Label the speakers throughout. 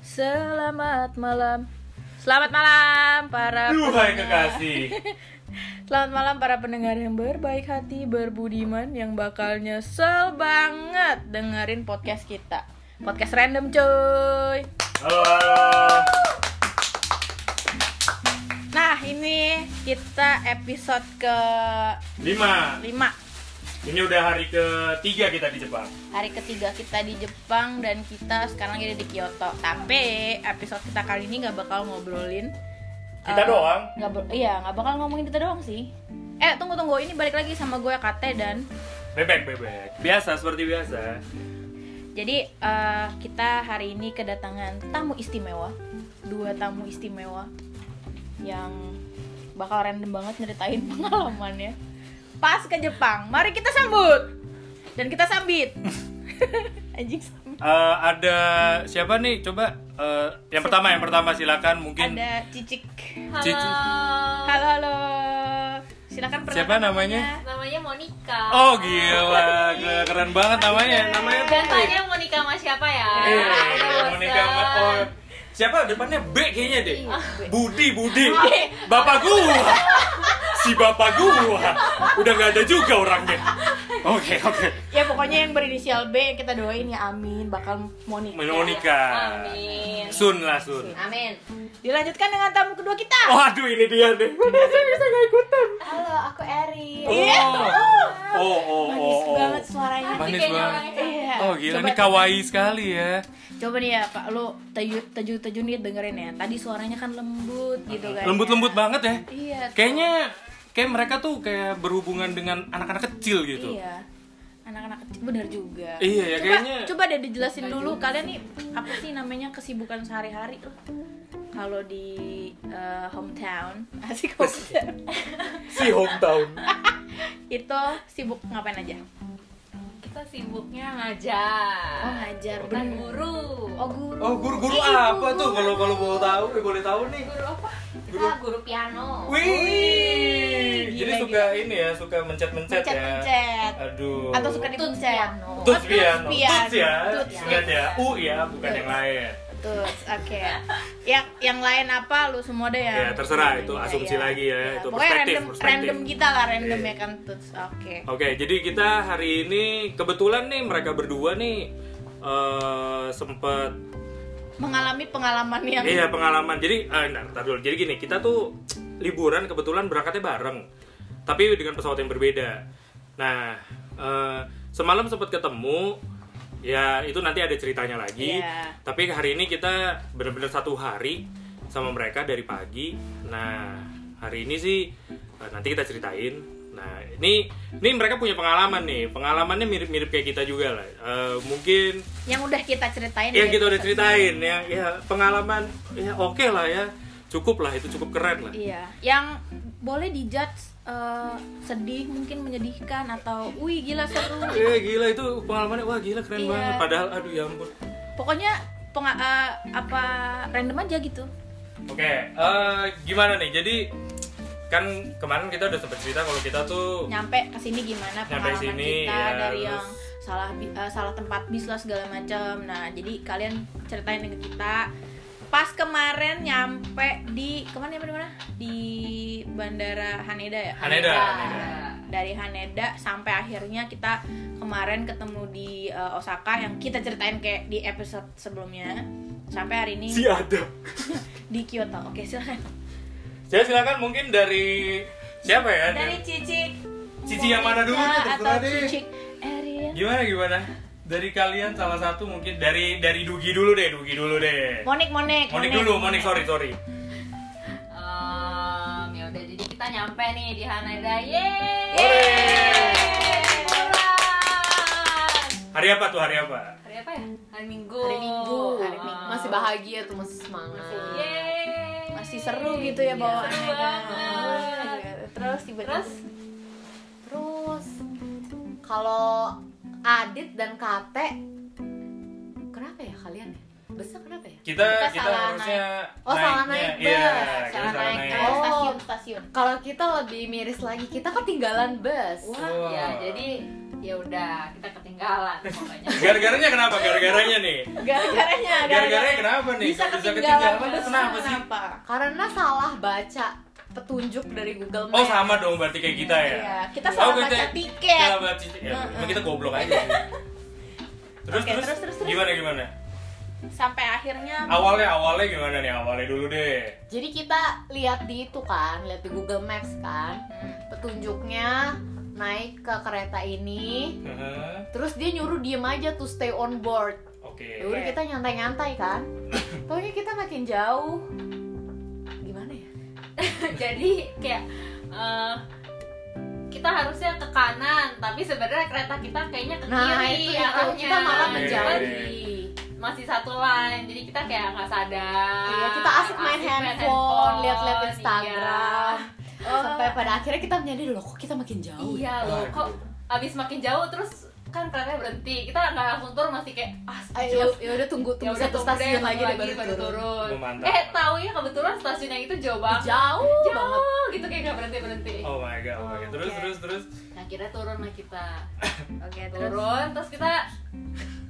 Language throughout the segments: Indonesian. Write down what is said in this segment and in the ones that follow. Speaker 1: Selamat malam. Selamat malam para
Speaker 2: Duhai kekasih
Speaker 1: Selamat malam para pendengar yang berbaik hati, berbudiman yang bakal nyesel banget dengerin podcast kita. Podcast random cuy.
Speaker 2: Halo halo
Speaker 1: Nah, ini kita episode ke
Speaker 2: Lima
Speaker 1: 5
Speaker 2: Ini udah hari ketiga kita di Jepang
Speaker 1: Hari ketiga kita di Jepang dan kita sekarang lagi di Kyoto. Tapi episode kita kali ini nggak bakal ngobrolin
Speaker 2: Kita
Speaker 1: eh,
Speaker 2: doang
Speaker 1: nggak ber- iya nggak bakal ngomongin kita doang sih. Eh tunggu tunggu ini balik lagi sama gue Kate dan
Speaker 2: Bebek bebek Biasa seperti biasa
Speaker 1: Jadi eh, kita hari ini kedatangan tamu istimewa, dua tamu istimewa yang bakal random banget nyeritain pengalamannya pas ke Jepang. Mari kita sambut dan kita sambit. Anjing sambit.
Speaker 2: Eh, Ada siapa nih coba eh, Yang pertama yang pertama silakan mungkin
Speaker 1: Ada Cicik.
Speaker 3: Halo,
Speaker 2: Cici.
Speaker 1: Halo halo. Silakan perkenalkan
Speaker 2: Siapa namanya?
Speaker 3: namanya Monica.
Speaker 2: Oh gila keren banget namanya Namanya
Speaker 3: Dan tanya Monica sama siapa ya?
Speaker 2: Eh,
Speaker 3: Udah bosen.
Speaker 2: Monica Ma- oh, Siapa depannya B kayaknya deh Budi Budi Bapak gua Si bapak gua Udah gak ada juga orangnya Oke oke
Speaker 1: Ya pokoknya yang berinisial B kita doain ya amin bakal Monica.
Speaker 2: Monica.
Speaker 3: Amin.
Speaker 2: Sun lah Sun.
Speaker 3: Amin.
Speaker 1: Dilanjutkan dengan tamu kedua kita.
Speaker 2: Waduh ini dia deh.
Speaker 1: bisa nggak ikutan.
Speaker 3: Halo, aku Eri.
Speaker 2: Oh. Oh oh oh.
Speaker 1: Iya. Manis
Speaker 2: oh.
Speaker 1: banget suaranya.
Speaker 2: Manis
Speaker 3: Kayaknya
Speaker 2: banget.
Speaker 3: orangnya
Speaker 1: Iya.
Speaker 2: Oh gila
Speaker 1: Coba-
Speaker 2: ini kawaii sekali ya.
Speaker 1: Coba nih ya Pak, lu teju teju teju nih dengerin ya. Tadi suaranya kan lembut gitu kan.
Speaker 2: Lembut-lembut banget ya.
Speaker 1: Iya. tuh.
Speaker 2: Kayaknya kayak mereka tuh kayak berhubungan dengan anak-anak kecil gitu.
Speaker 1: Iya. Anak-anak kecil bener juga.
Speaker 2: Iya, ya,
Speaker 1: coba,
Speaker 2: kayaknya-
Speaker 1: Coba deh dijelasin dulu kalian nih apa sih namanya kesibukan sehari-hari lu? Kalau di eh, hometown, asik hometown.
Speaker 2: Si hometown.
Speaker 1: itu sibuk ngapain aja?
Speaker 3: Kita sibuknya ngajar.
Speaker 1: Oh, ngajar
Speaker 3: Bukan
Speaker 1: bener.
Speaker 3: guru.
Speaker 1: Oh, guru.
Speaker 2: Oh guru-guru apa tuh kalau kalau mau tahu eh, boleh tahu nih.
Speaker 3: guru apa? Kita
Speaker 2: Guru-
Speaker 3: guru, piano.
Speaker 2: Wih. Jadi
Speaker 1: gila,
Speaker 2: suka ini ya, suka mencet-mencet ya.
Speaker 1: Mencet-mencet.
Speaker 2: Aduh.
Speaker 1: Atau suka
Speaker 3: Tuts
Speaker 1: dipencet?
Speaker 3: piano.
Speaker 2: Tuts
Speaker 1: Tuts
Speaker 2: piano.
Speaker 1: piano.
Speaker 2: Tuts ya.
Speaker 1: Tuts.
Speaker 2: Ingat ya. U ya, bukan yang lain.
Speaker 1: Tuh, oke. Ya, yang lain apa lu semua deh ya?
Speaker 2: Ya, terserah, itu asumsi lagi ya, itu
Speaker 1: Pokoknya
Speaker 2: perspektif,
Speaker 1: random,
Speaker 2: perspektif.
Speaker 1: random kita lah, random
Speaker 2: Iya.
Speaker 1: ya kan. Tuts, oke.
Speaker 2: Oke, jadi kita hari ini kebetulan nih mereka berdua nih eh sempat
Speaker 1: Mengalami pengalaman yang
Speaker 2: iya pengalaman. Jadi eh bentar, bentar dulu. Jadi gini, kita tuh liburan kebetulan berangkatnya bareng. Tapi dengan pesawat yang berbeda. Nah, eh semalam sempat ketemu ya itu nanti ada ceritanya lagi.
Speaker 1: Iya.
Speaker 2: Tapi hari ini kita benar-benar satu hari sama mereka dari pagi. Nah, hari ini sih eh, nanti kita ceritain. Nah, ini ini mereka punya pengalaman nih. Pengalamannya mirip-mirip kayak kita juga lah. Eh, mungkin
Speaker 1: yang udah kita ceritain.
Speaker 2: yang
Speaker 1: ya.
Speaker 2: kita udah ceritain ya, ya pengalaman ya oke lah ya. Cukup lah itu cukup keren lah.
Speaker 1: Iya, yang boleh dijudge eh, sedih mungkin menyedihkan atau wih gila seru.
Speaker 2: Eh gila itu pengalamannya wah gila keren
Speaker 1: Iya.
Speaker 2: banget. Padahal aduh ya ampun.
Speaker 1: Pokoknya penga- eh, apa random aja gitu.
Speaker 2: Oke, eh, gimana nih? Jadi kan kemarin kita udah sempet cerita kalau kita tuh
Speaker 1: nyampe ke sini gimana
Speaker 2: Nyampe
Speaker 1: pengalaman
Speaker 2: sini,
Speaker 1: kita
Speaker 2: ya,
Speaker 1: dari
Speaker 2: terus-
Speaker 1: yang salah bi- eh, salah tempat bis lah segala macam. Nah, jadi kalian ceritain dengan kita pas kemarin nyampe di kemana nyampe di mana? Di bandara Haneda ya.
Speaker 2: Haneda, Haneda.
Speaker 1: Dari Haneda sampai akhirnya kita kemarin ketemu di eh, Osaka yang kita ceritain kayak di episode sebelumnya sampai hari ini
Speaker 2: si ada.
Speaker 1: di Kyoto. Oke, silakan.
Speaker 2: Saya silakan mungkin dari siapa ya?
Speaker 3: Dari Cici.
Speaker 2: Cici yang mana dulu?
Speaker 1: Monica
Speaker 2: Terserah
Speaker 1: atau
Speaker 2: deh.
Speaker 1: Cicik Ariel?
Speaker 2: Gimana gimana? Dari kalian salah satu mungkin dari dari Dugi dulu deh, Dugi dulu deh.
Speaker 1: Monik, Monik,
Speaker 2: Monik dulu, Monik sorry sorry.
Speaker 3: Em, ya udah jadi kita nyampe nih di Haneda. Yeay. Liburan.
Speaker 2: Hari apa tuh hari apa?
Speaker 3: Hari apa ya? Hari Minggu.
Speaker 1: Hari Minggu. Hari Minggu.
Speaker 4: masih bahagia tuh Oh. masih semangat
Speaker 3: Yeay.
Speaker 1: masih seru gitu ya bawaannya
Speaker 3: Iya, Seru
Speaker 1: kan. Iya,
Speaker 3: banget.
Speaker 1: terus tiba-tiba
Speaker 3: Terus?
Speaker 4: terus kalau Adit dan Kate kenapa ya kalian ya besar kenapa ya
Speaker 2: Kita
Speaker 1: Kita
Speaker 2: kita,
Speaker 1: salah
Speaker 2: harusnya
Speaker 4: Oh, salah
Speaker 2: naiknya.
Speaker 4: naik
Speaker 2: Iya,
Speaker 4: bus.
Speaker 2: kita salah
Speaker 1: naik ke
Speaker 2: naik.
Speaker 4: naik. Oh.
Speaker 1: stasiun stasiun
Speaker 2: Oh.
Speaker 4: kalau kita lebih miris lagi kita ketinggalan bus
Speaker 1: Wah.
Speaker 2: Wah.
Speaker 3: Ya, jadi ya udah kita ketinggalan pokoknya
Speaker 2: Gara-garanya kenapa? Gara-garanya nih.
Speaker 1: Iya, Gara-garanya,
Speaker 2: Gara-garanya kenapa nih?
Speaker 1: Bisa
Speaker 2: Kok bisa
Speaker 1: ketinggalan,
Speaker 2: ketinggalan?
Speaker 1: terus
Speaker 2: Kenapa sih?
Speaker 1: Kenapa?
Speaker 4: Karena salah baca petunjuk dari Google Maps.
Speaker 2: Oh sama dong berarti kayak kita ya.
Speaker 1: Iya, kita
Speaker 2: Oh,
Speaker 1: salah
Speaker 2: kita-
Speaker 1: baca tiket.
Speaker 2: Kita baca tiket. Ya,
Speaker 1: Heeh.
Speaker 2: emang kita goblok aja sih. Terus,
Speaker 1: Oke,
Speaker 2: terus,
Speaker 1: terus, terus, terus.
Speaker 2: gimana gimana?
Speaker 1: Sampai akhirnya
Speaker 2: Awalnya awalnya gimana nih? Awalnya dulu deh.
Speaker 4: Jadi kita lihat di itu kan, lihat di Google Maps kan,
Speaker 1: Hmm.
Speaker 4: petunjuknya naik ke kereta ini.
Speaker 2: Heeh.
Speaker 4: Terus dia nyuruh diem aja tuh stay on board.
Speaker 2: Oke.
Speaker 4: Ya
Speaker 1: gitu.
Speaker 4: udah kita nyantai-nyantai kan. Pokoknya kita makin jauh. Gimana ya?
Speaker 3: jadi kayak eh, kita harusnya ke kanan tapi sebenarnya kereta kita kayaknya ke kiri
Speaker 4: Nah, itu, itu.
Speaker 3: arahnya.
Speaker 4: kita malah
Speaker 3: Cuman
Speaker 4: menjauh.
Speaker 3: iya, masih satu line jadi kita kayak nggak sadar
Speaker 4: Iya, kita asik main handphone,
Speaker 3: handphone,
Speaker 4: lihat-lihat
Speaker 3: iya.
Speaker 4: Instagram.
Speaker 1: Oh.
Speaker 4: Sampai pada akhirnya kita menyadari loh kok kita makin jauh.
Speaker 3: iya
Speaker 4: ya?"
Speaker 3: loh kok abis makin jauh terus kan keretanya berhenti kita nggak langsung turun masih kayak ah
Speaker 4: Ayo, ya udah tunggu
Speaker 3: ya
Speaker 4: tunggu
Speaker 3: udah
Speaker 4: satu
Speaker 3: turun deh,
Speaker 4: stasiun
Speaker 3: tunggu
Speaker 4: lagi, deh baru
Speaker 3: baru
Speaker 4: turun.
Speaker 3: turun
Speaker 2: Gua mantap.
Speaker 3: eh taunya kebetulan stasiun yang itu jauh banget
Speaker 4: Jauh,
Speaker 3: jauh
Speaker 4: banget.
Speaker 3: gitu kayak nggak berhenti berhenti Nah,
Speaker 2: Oh my god. Oh my god. Terus
Speaker 1: Oke.
Speaker 2: terus terus.
Speaker 3: akhirnya turun lah kita
Speaker 1: Oke, terus
Speaker 3: turun terus kita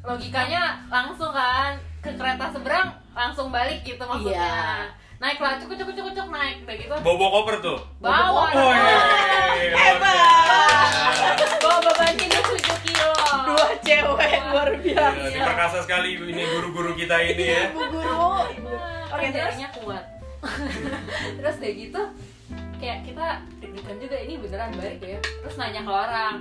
Speaker 3: logikanya langsung kan ke kereta seberang langsung balik gitu maksudnya
Speaker 4: Iya.
Speaker 3: naik lah cukup cukup cukup cukup naik udah gitu
Speaker 2: Bobo koper tuh.
Speaker 3: bawa
Speaker 2: Oh iya.
Speaker 3: bawa beban hidup 7 kilo
Speaker 1: dua cewek luar biasa.
Speaker 2: Gila, Perkasa sekali ini guru-guru kita ini ya.
Speaker 1: Bu guru, ibu. Oke, terus
Speaker 3: kerjanya kuat terus udah gitu kayak kita deg-degan juga ini beneran balik ya terus nanya ke orang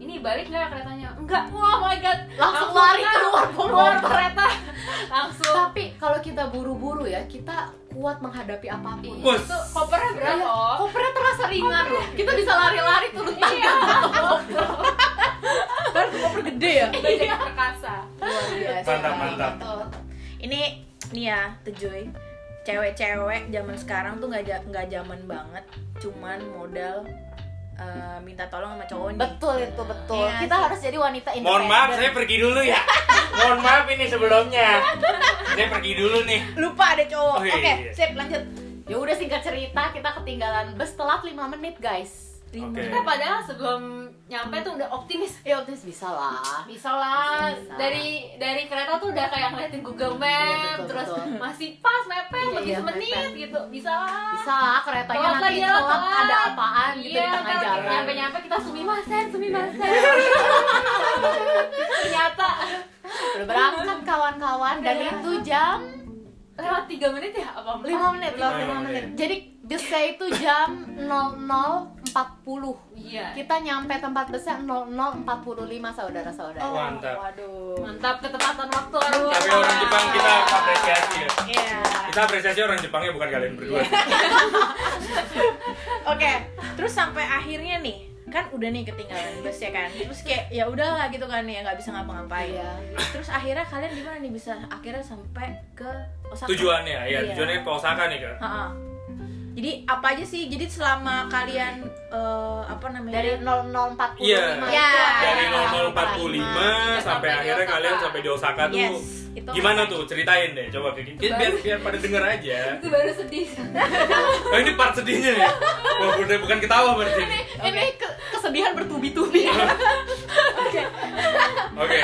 Speaker 3: ini balik nggak keretanya enggak wah oh my god
Speaker 4: Langsung lari
Speaker 3: kan
Speaker 4: keluar
Speaker 3: keluar
Speaker 4: pondok.
Speaker 3: kereta langsung
Speaker 4: Tapi kalau kita buru-buru ya, kita kuat menghadapi apapun.
Speaker 2: Wah.
Speaker 3: itu kopernya berat
Speaker 4: Iya,
Speaker 3: loh
Speaker 4: Kopernya terasa ringan loh. Kita bisa lari-lari turun
Speaker 3: Iya.
Speaker 4: tangga.
Speaker 1: kan koper gede ya.
Speaker 3: udah jadi perkasa
Speaker 4: Luar biasa.
Speaker 2: Mantap, mantap.
Speaker 4: Betul.
Speaker 1: Ini nih ya, tujuh cewek-cewek zaman sekarang tuh nggak ja- nggak zaman banget, cuman modal eh, minta tolong sama cowok nih.
Speaker 4: Betul itu betul.
Speaker 1: Iya,
Speaker 4: kita
Speaker 1: sih.
Speaker 4: harus jadi wanita independen.
Speaker 2: Mohon maaf, saya pergi dulu ya. Mohon maaf ini sebelumnya. Saya pergi dulu nih.
Speaker 1: Lupa ada cowok.
Speaker 2: Oh, iya,
Speaker 1: Oke,
Speaker 2: iya.
Speaker 1: sip lanjut.
Speaker 4: Ya udah singkat cerita, kita ketinggalan bus telat 5 menit, guys.
Speaker 1: Lima.
Speaker 2: Oke.
Speaker 3: kita padahal sebelum nyampe tuh udah optimis
Speaker 4: Ya optimis bisa lah.
Speaker 3: bisa lah
Speaker 4: Bisa.
Speaker 3: dari dari kereta tuh udah kayak ngeliatin Google Map
Speaker 4: Iya, betul,
Speaker 3: terus
Speaker 4: betul.
Speaker 3: masih pas mepet
Speaker 4: Iya,
Speaker 3: lebih
Speaker 4: iya,
Speaker 3: semenit
Speaker 4: mepet.
Speaker 3: gitu bisa lah
Speaker 4: Bisa lah keretanya
Speaker 3: Telat
Speaker 4: nanti
Speaker 3: lagi lah,
Speaker 4: telat,
Speaker 3: telat.
Speaker 4: ada apaan gitu di tengah
Speaker 3: kalau
Speaker 4: jalan.
Speaker 3: nyampe nyampe Iya, kita sumimasen sumimasen ternyata
Speaker 4: Udah berangkat kawan-kawan dan
Speaker 3: Udah
Speaker 4: itu jam
Speaker 3: lewat 3 menit ya apa
Speaker 4: 5 menit,
Speaker 2: Lima
Speaker 4: lewat lima
Speaker 2: menit.
Speaker 4: menit. Jadi busnya itu jam 00.40.
Speaker 3: iya
Speaker 4: Kita nyampe tempat busnya 00.45
Speaker 3: Oh.
Speaker 4: saudara-saudara.
Speaker 2: Mantap.
Speaker 1: Oh, Waduh.
Speaker 3: mantap ketepatan waktu orang
Speaker 2: Tapi orang Jepang kita apresiasi ya.
Speaker 1: Iya.
Speaker 2: Kita apresiasi orang Jepangnya bukan kalian berdua.
Speaker 1: Oke, terus sampai akhirnya nih kan udah nih ketinggalan bus ya kan terus kayak ya udahlah gitu kan ya nggak bisa ngapa-ngapain
Speaker 4: Iya.
Speaker 1: terus akhirnya kalian gimana nih bisa akhirnya sampai ke Osaka
Speaker 2: Tujuannya ya,
Speaker 1: Iya.
Speaker 2: tujuannya ke Osaka nih kan.
Speaker 1: Ha-ha. jadi apa aja sih jadi selama kalian eh, apa namanya
Speaker 4: Dari 00.45
Speaker 2: Iya.
Speaker 1: Iya.
Speaker 4: itu
Speaker 2: Dari
Speaker 4: ada
Speaker 2: 0045 sampai
Speaker 3: Sampai di
Speaker 2: akhirnya
Speaker 3: Osaka.
Speaker 2: kalian sampai di Osaka tuh.
Speaker 1: Yes, itu kan.
Speaker 2: Gimana
Speaker 1: makanya.
Speaker 2: tuh ceritain deh, coba kayak gini. biar biar pada denger aja.
Speaker 3: itu baru sedih
Speaker 2: Oh ini part sedihnya ya. Wah, udah bukan ketawa berarti. Oke,
Speaker 4: Ini ke- kesedihan bertubi-tubi.
Speaker 3: Iya.
Speaker 2: oke.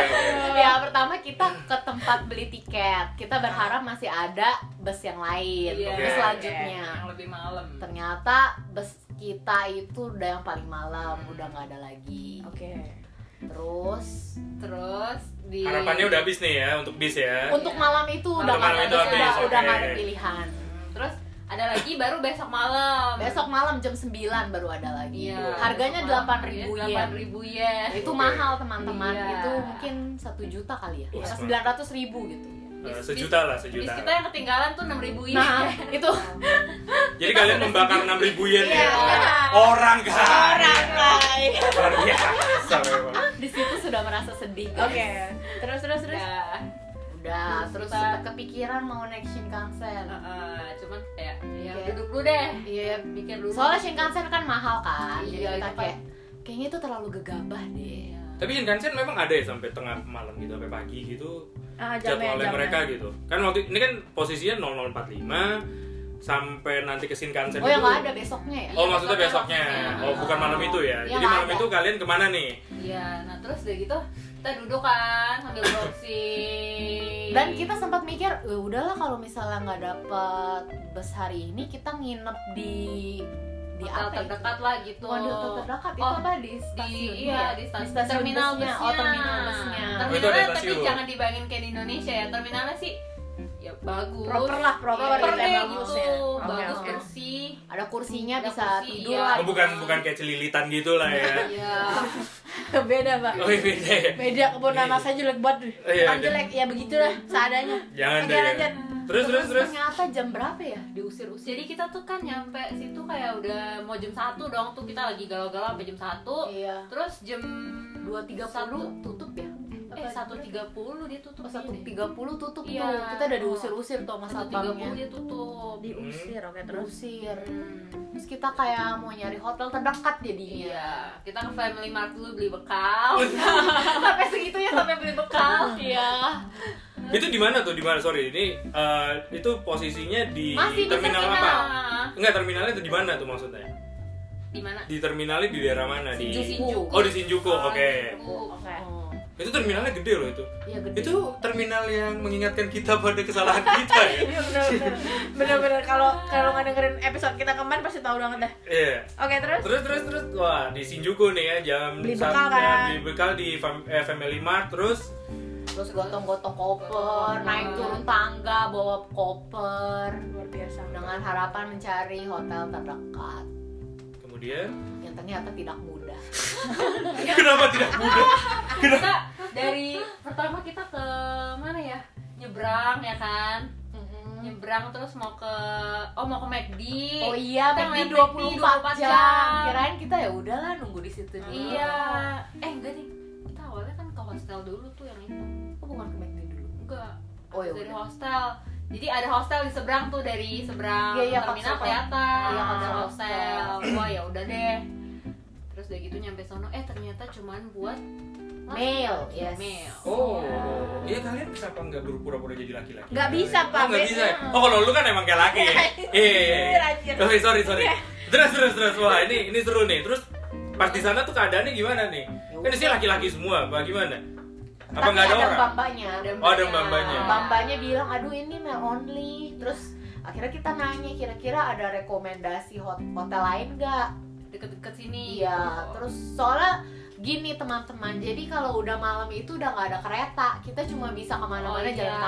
Speaker 4: ya pertama kita ke tempat beli tiket. Kita berharap masih ada bus yang lain.
Speaker 3: Iya.
Speaker 4: Bus selanjutnya.
Speaker 3: yang lebih malam
Speaker 4: Ternyata bus kita itu udah yang paling malam, udah nggak ada lagi.
Speaker 1: oke
Speaker 4: Terus
Speaker 3: terus di
Speaker 2: Harapannya udah habis nih ya untuk bis ya.
Speaker 4: untuk malam itu udah
Speaker 3: Malam
Speaker 4: nggak ada,
Speaker 3: itu habis,
Speaker 4: udah, udah
Speaker 2: oke.
Speaker 4: nggak ada pilihan.
Speaker 3: terus ada lagi baru besok malam
Speaker 4: Besok malam jam 9 baru ada lagi.
Speaker 3: iya
Speaker 4: Harganya
Speaker 3: besok malam harganya
Speaker 4: 8.000 yen. Nah,
Speaker 3: 8.000 yen
Speaker 4: Itu
Speaker 2: Oke.
Speaker 4: mahal teman-teman.
Speaker 3: Iya.
Speaker 4: Itu mungkin satu juta kali ya.
Speaker 2: Wah,
Speaker 4: Atau
Speaker 2: mahal.
Speaker 4: 900 ribu gitu.
Speaker 2: Eh, sejuta lah,
Speaker 3: bis
Speaker 2: sejuta.
Speaker 3: kita yang ketinggalan tuh 6.000 yen
Speaker 4: Nah, itu
Speaker 2: Jadi kalian membakar 6000 yen ya.
Speaker 1: Iya.
Speaker 2: Orang kan.
Speaker 1: orang lain
Speaker 2: Luar biasa memang.
Speaker 4: di situ sudah merasa sedih. guys.
Speaker 1: oke terus terus terus
Speaker 4: Nah.
Speaker 3: Udah.
Speaker 4: Udah,
Speaker 3: Terus Iya,
Speaker 4: terus
Speaker 3: kita-
Speaker 4: sempet kepikiran mau naik Shinkansen.
Speaker 3: Heeh, cuman kayak ya
Speaker 4: Kayak-
Speaker 3: duduk dulu deh
Speaker 4: Iya,
Speaker 3: mikir dulu
Speaker 4: soalnya Shinkansen kan mahal
Speaker 3: Iya,
Speaker 4: kan. Jadi kita
Speaker 3: itu
Speaker 4: kayak kayaknya itu terlalu gegabah deh.
Speaker 3: Iya.
Speaker 2: Tapi Shinkansen memang ada ya sampai tengah malam gitu sampai pagi gitu
Speaker 1: ah, jamnya
Speaker 4: ya,
Speaker 2: jadwalnya
Speaker 1: jamnya
Speaker 2: mereka gitu. Kan waktu ini kan posisinya 0045 sampai nanti ke Shinkansen
Speaker 4: Oh yang
Speaker 2: itu-
Speaker 4: nggak ada besoknya ya?
Speaker 2: Oh maksudnya besoknya.
Speaker 3: besoknya.
Speaker 2: Oh bukan malam itu ya.
Speaker 4: Iya,
Speaker 2: Jadi
Speaker 4: nggak
Speaker 2: malam
Speaker 4: ada.
Speaker 2: itu kalian kemana nih?
Speaker 3: Iya, nah terus udah gitu kita duduk kan sambil browsing.
Speaker 4: Dan kita sempat mikir, "Eh, udahlah kalau misalnya nggak dapet bus hari ini kita nginep di di
Speaker 3: di hotel
Speaker 4: apa? ya?
Speaker 3: terdekat lah gitu.
Speaker 4: Waduh, hotel terdekat itu
Speaker 3: Oh,
Speaker 4: apa di
Speaker 3: Di,
Speaker 4: stasiun?
Speaker 3: iya, di stasiun, terminal
Speaker 4: busnya.
Speaker 3: busnya.
Speaker 4: Oh, terminal busnya.
Speaker 2: Terminal.
Speaker 3: Terminalnya
Speaker 2: Oh, itu ada
Speaker 3: tapi
Speaker 2: stasiun.
Speaker 3: jangan dibangin kayak di Indonesia ya. Terminalnya sih ya bagus.
Speaker 4: Proper lah, proper.
Speaker 1: Proper
Speaker 3: Proper
Speaker 1: gitu ya,
Speaker 3: gitu.
Speaker 1: bagus ya. Oke,
Speaker 3: Bagus
Speaker 4: oke.
Speaker 3: bersih.
Speaker 4: Ada kursinya
Speaker 3: Ada
Speaker 4: bisa
Speaker 3: kursi,
Speaker 4: tidur
Speaker 3: iya.
Speaker 4: lah.
Speaker 2: Oh bukan bukan kayak celilitan gitu lah ya.
Speaker 3: Iya.
Speaker 1: beda pak
Speaker 2: Oh iya, beda ya.
Speaker 1: beda kebun nanas saya jelek banget
Speaker 2: Oh, iya,
Speaker 1: Bukan
Speaker 2: iya.
Speaker 1: jelek ya begitulah seadanya
Speaker 2: Jangan
Speaker 1: Oke,
Speaker 2: deh.
Speaker 1: lanjut.
Speaker 2: Terus terus terus.
Speaker 4: ternyata jam berapa ya?
Speaker 3: Diusir-usir. Jadi kita tuh kan nyampe situ kayak udah mau jam 1 dong tuh kita lagi galau-galau sampai jam 1.
Speaker 4: Iya.
Speaker 3: Terus jam
Speaker 4: 2.30 tutup ya?
Speaker 3: eh 1.30 dia tutup.
Speaker 4: Oh,
Speaker 3: kayaknya deh.
Speaker 4: 1.30 tutup
Speaker 3: Iya.
Speaker 4: tuh. Kita udah diusir-usir tuh sama
Speaker 3: satu tiga
Speaker 4: satpamnya.
Speaker 3: dia tutup
Speaker 1: diusir oke terus
Speaker 4: Diusir. Terus kita kayak mau nyari hotel terdekat jadinya.
Speaker 3: iya kita ke family mart dulu beli bekal
Speaker 4: sampai segitunya sampai beli bekal. Iya.
Speaker 2: Itu di mana tuh? Di mana? Sorry, ini eh, itu posisinya di
Speaker 4: Masih di
Speaker 2: terminal apa?
Speaker 4: terminal.
Speaker 2: Enggak, terminalnya itu di mana tuh maksudnya?
Speaker 3: di mana
Speaker 2: Di terminalnya di daerah mana? Di
Speaker 3: Shinjuku.
Speaker 2: Oh, di Shinjuku. Oke.
Speaker 3: Shinjuku.
Speaker 1: oke
Speaker 4: Oh.
Speaker 2: Itu terminalnya gede loh itu.
Speaker 4: Iya gede.
Speaker 2: Itu terminal yang mengingatkan kita pada kesalahan kita ya.
Speaker 1: Iya, bener-bener. bener-bener kalau kalau nggak dengerin episode kita kemarin pasti tahu banget dah
Speaker 2: Iya.
Speaker 1: oke terus
Speaker 2: Terus terus terus wah di Shinjuku nih ya jam
Speaker 1: Beli
Speaker 2: sat-
Speaker 1: bekal, kan?
Speaker 2: ya, beli bekal di fam- eh, Family Mart terus
Speaker 4: Terus gotong-gotong koper,
Speaker 3: Iya.
Speaker 4: naik turun tangga bawa koper
Speaker 1: luar biasa
Speaker 4: dengan harapan mencari hotel terdekat
Speaker 2: kemudian
Speaker 4: yang ternyata tidak mudah.
Speaker 2: kenapa tidak mudah?
Speaker 3: kita dari pertama kita ke mana ya nyebrang ya kan nyebrang terus mau ke oh mau ke McD
Speaker 4: Hmm. Oh iya,
Speaker 3: Kita ngeliat
Speaker 4: McD 24 jam.
Speaker 3: 24 jam.
Speaker 4: Kirain kita ya udahlah nunggu di situ dulu.
Speaker 3: iya eh enggak nih kita awalnya kan ke hostel dulu tuh yang itu
Speaker 4: Oh, bukan ke McD dulu.
Speaker 3: enggak
Speaker 4: Oh, ya
Speaker 3: dari
Speaker 4: udah.
Speaker 3: hostel jadi ada hostel di seberang tuh dari seberang
Speaker 4: Iya, iya,
Speaker 3: terminal
Speaker 4: kapsul,
Speaker 3: kelihatan
Speaker 4: iya,
Speaker 3: ada
Speaker 4: kapsul
Speaker 3: hostel wah ya udah
Speaker 4: Iya.
Speaker 3: deh terus udah gitu nyampe sono eh ternyata cuman buat
Speaker 4: Mail, yes.
Speaker 3: Mail.
Speaker 2: Oh, iya kalian kenapa nggak berpura-pura jadi laki-laki?
Speaker 1: Nggak bisa, Pak.
Speaker 2: Oh, nggak bisa. ya?
Speaker 1: Beda.
Speaker 2: Oh, kalau lu kan emang kayak laki. ya? Iya. iya, iya.
Speaker 1: Anjir, anjir.
Speaker 2: Sorry, sorry, sorry. Terus, terus, terus. Wah, ini ini seru nih. Terus pas di sana tuh keadaannya gimana nih?
Speaker 4: Ya
Speaker 2: Kan di sini laki-laki semua, bagaimana? Apa
Speaker 4: Tapi
Speaker 2: nggak ada orang?
Speaker 4: mbak-mbaknya.
Speaker 2: Oh, ada mbak-mbaknya.
Speaker 4: Mbak-mbaknya bilang, aduh ini mail only. Terus akhirnya kita nanya kira-kira ada rekomendasi hot- hotel lain nggak?
Speaker 3: deket-deket sini
Speaker 4: Iya, terus soalnya gini teman-teman, jadi kalau udah malam itu udah nggak ada kereta, kita cuma bisa kemana-mana
Speaker 3: Oh, iya,
Speaker 4: jalan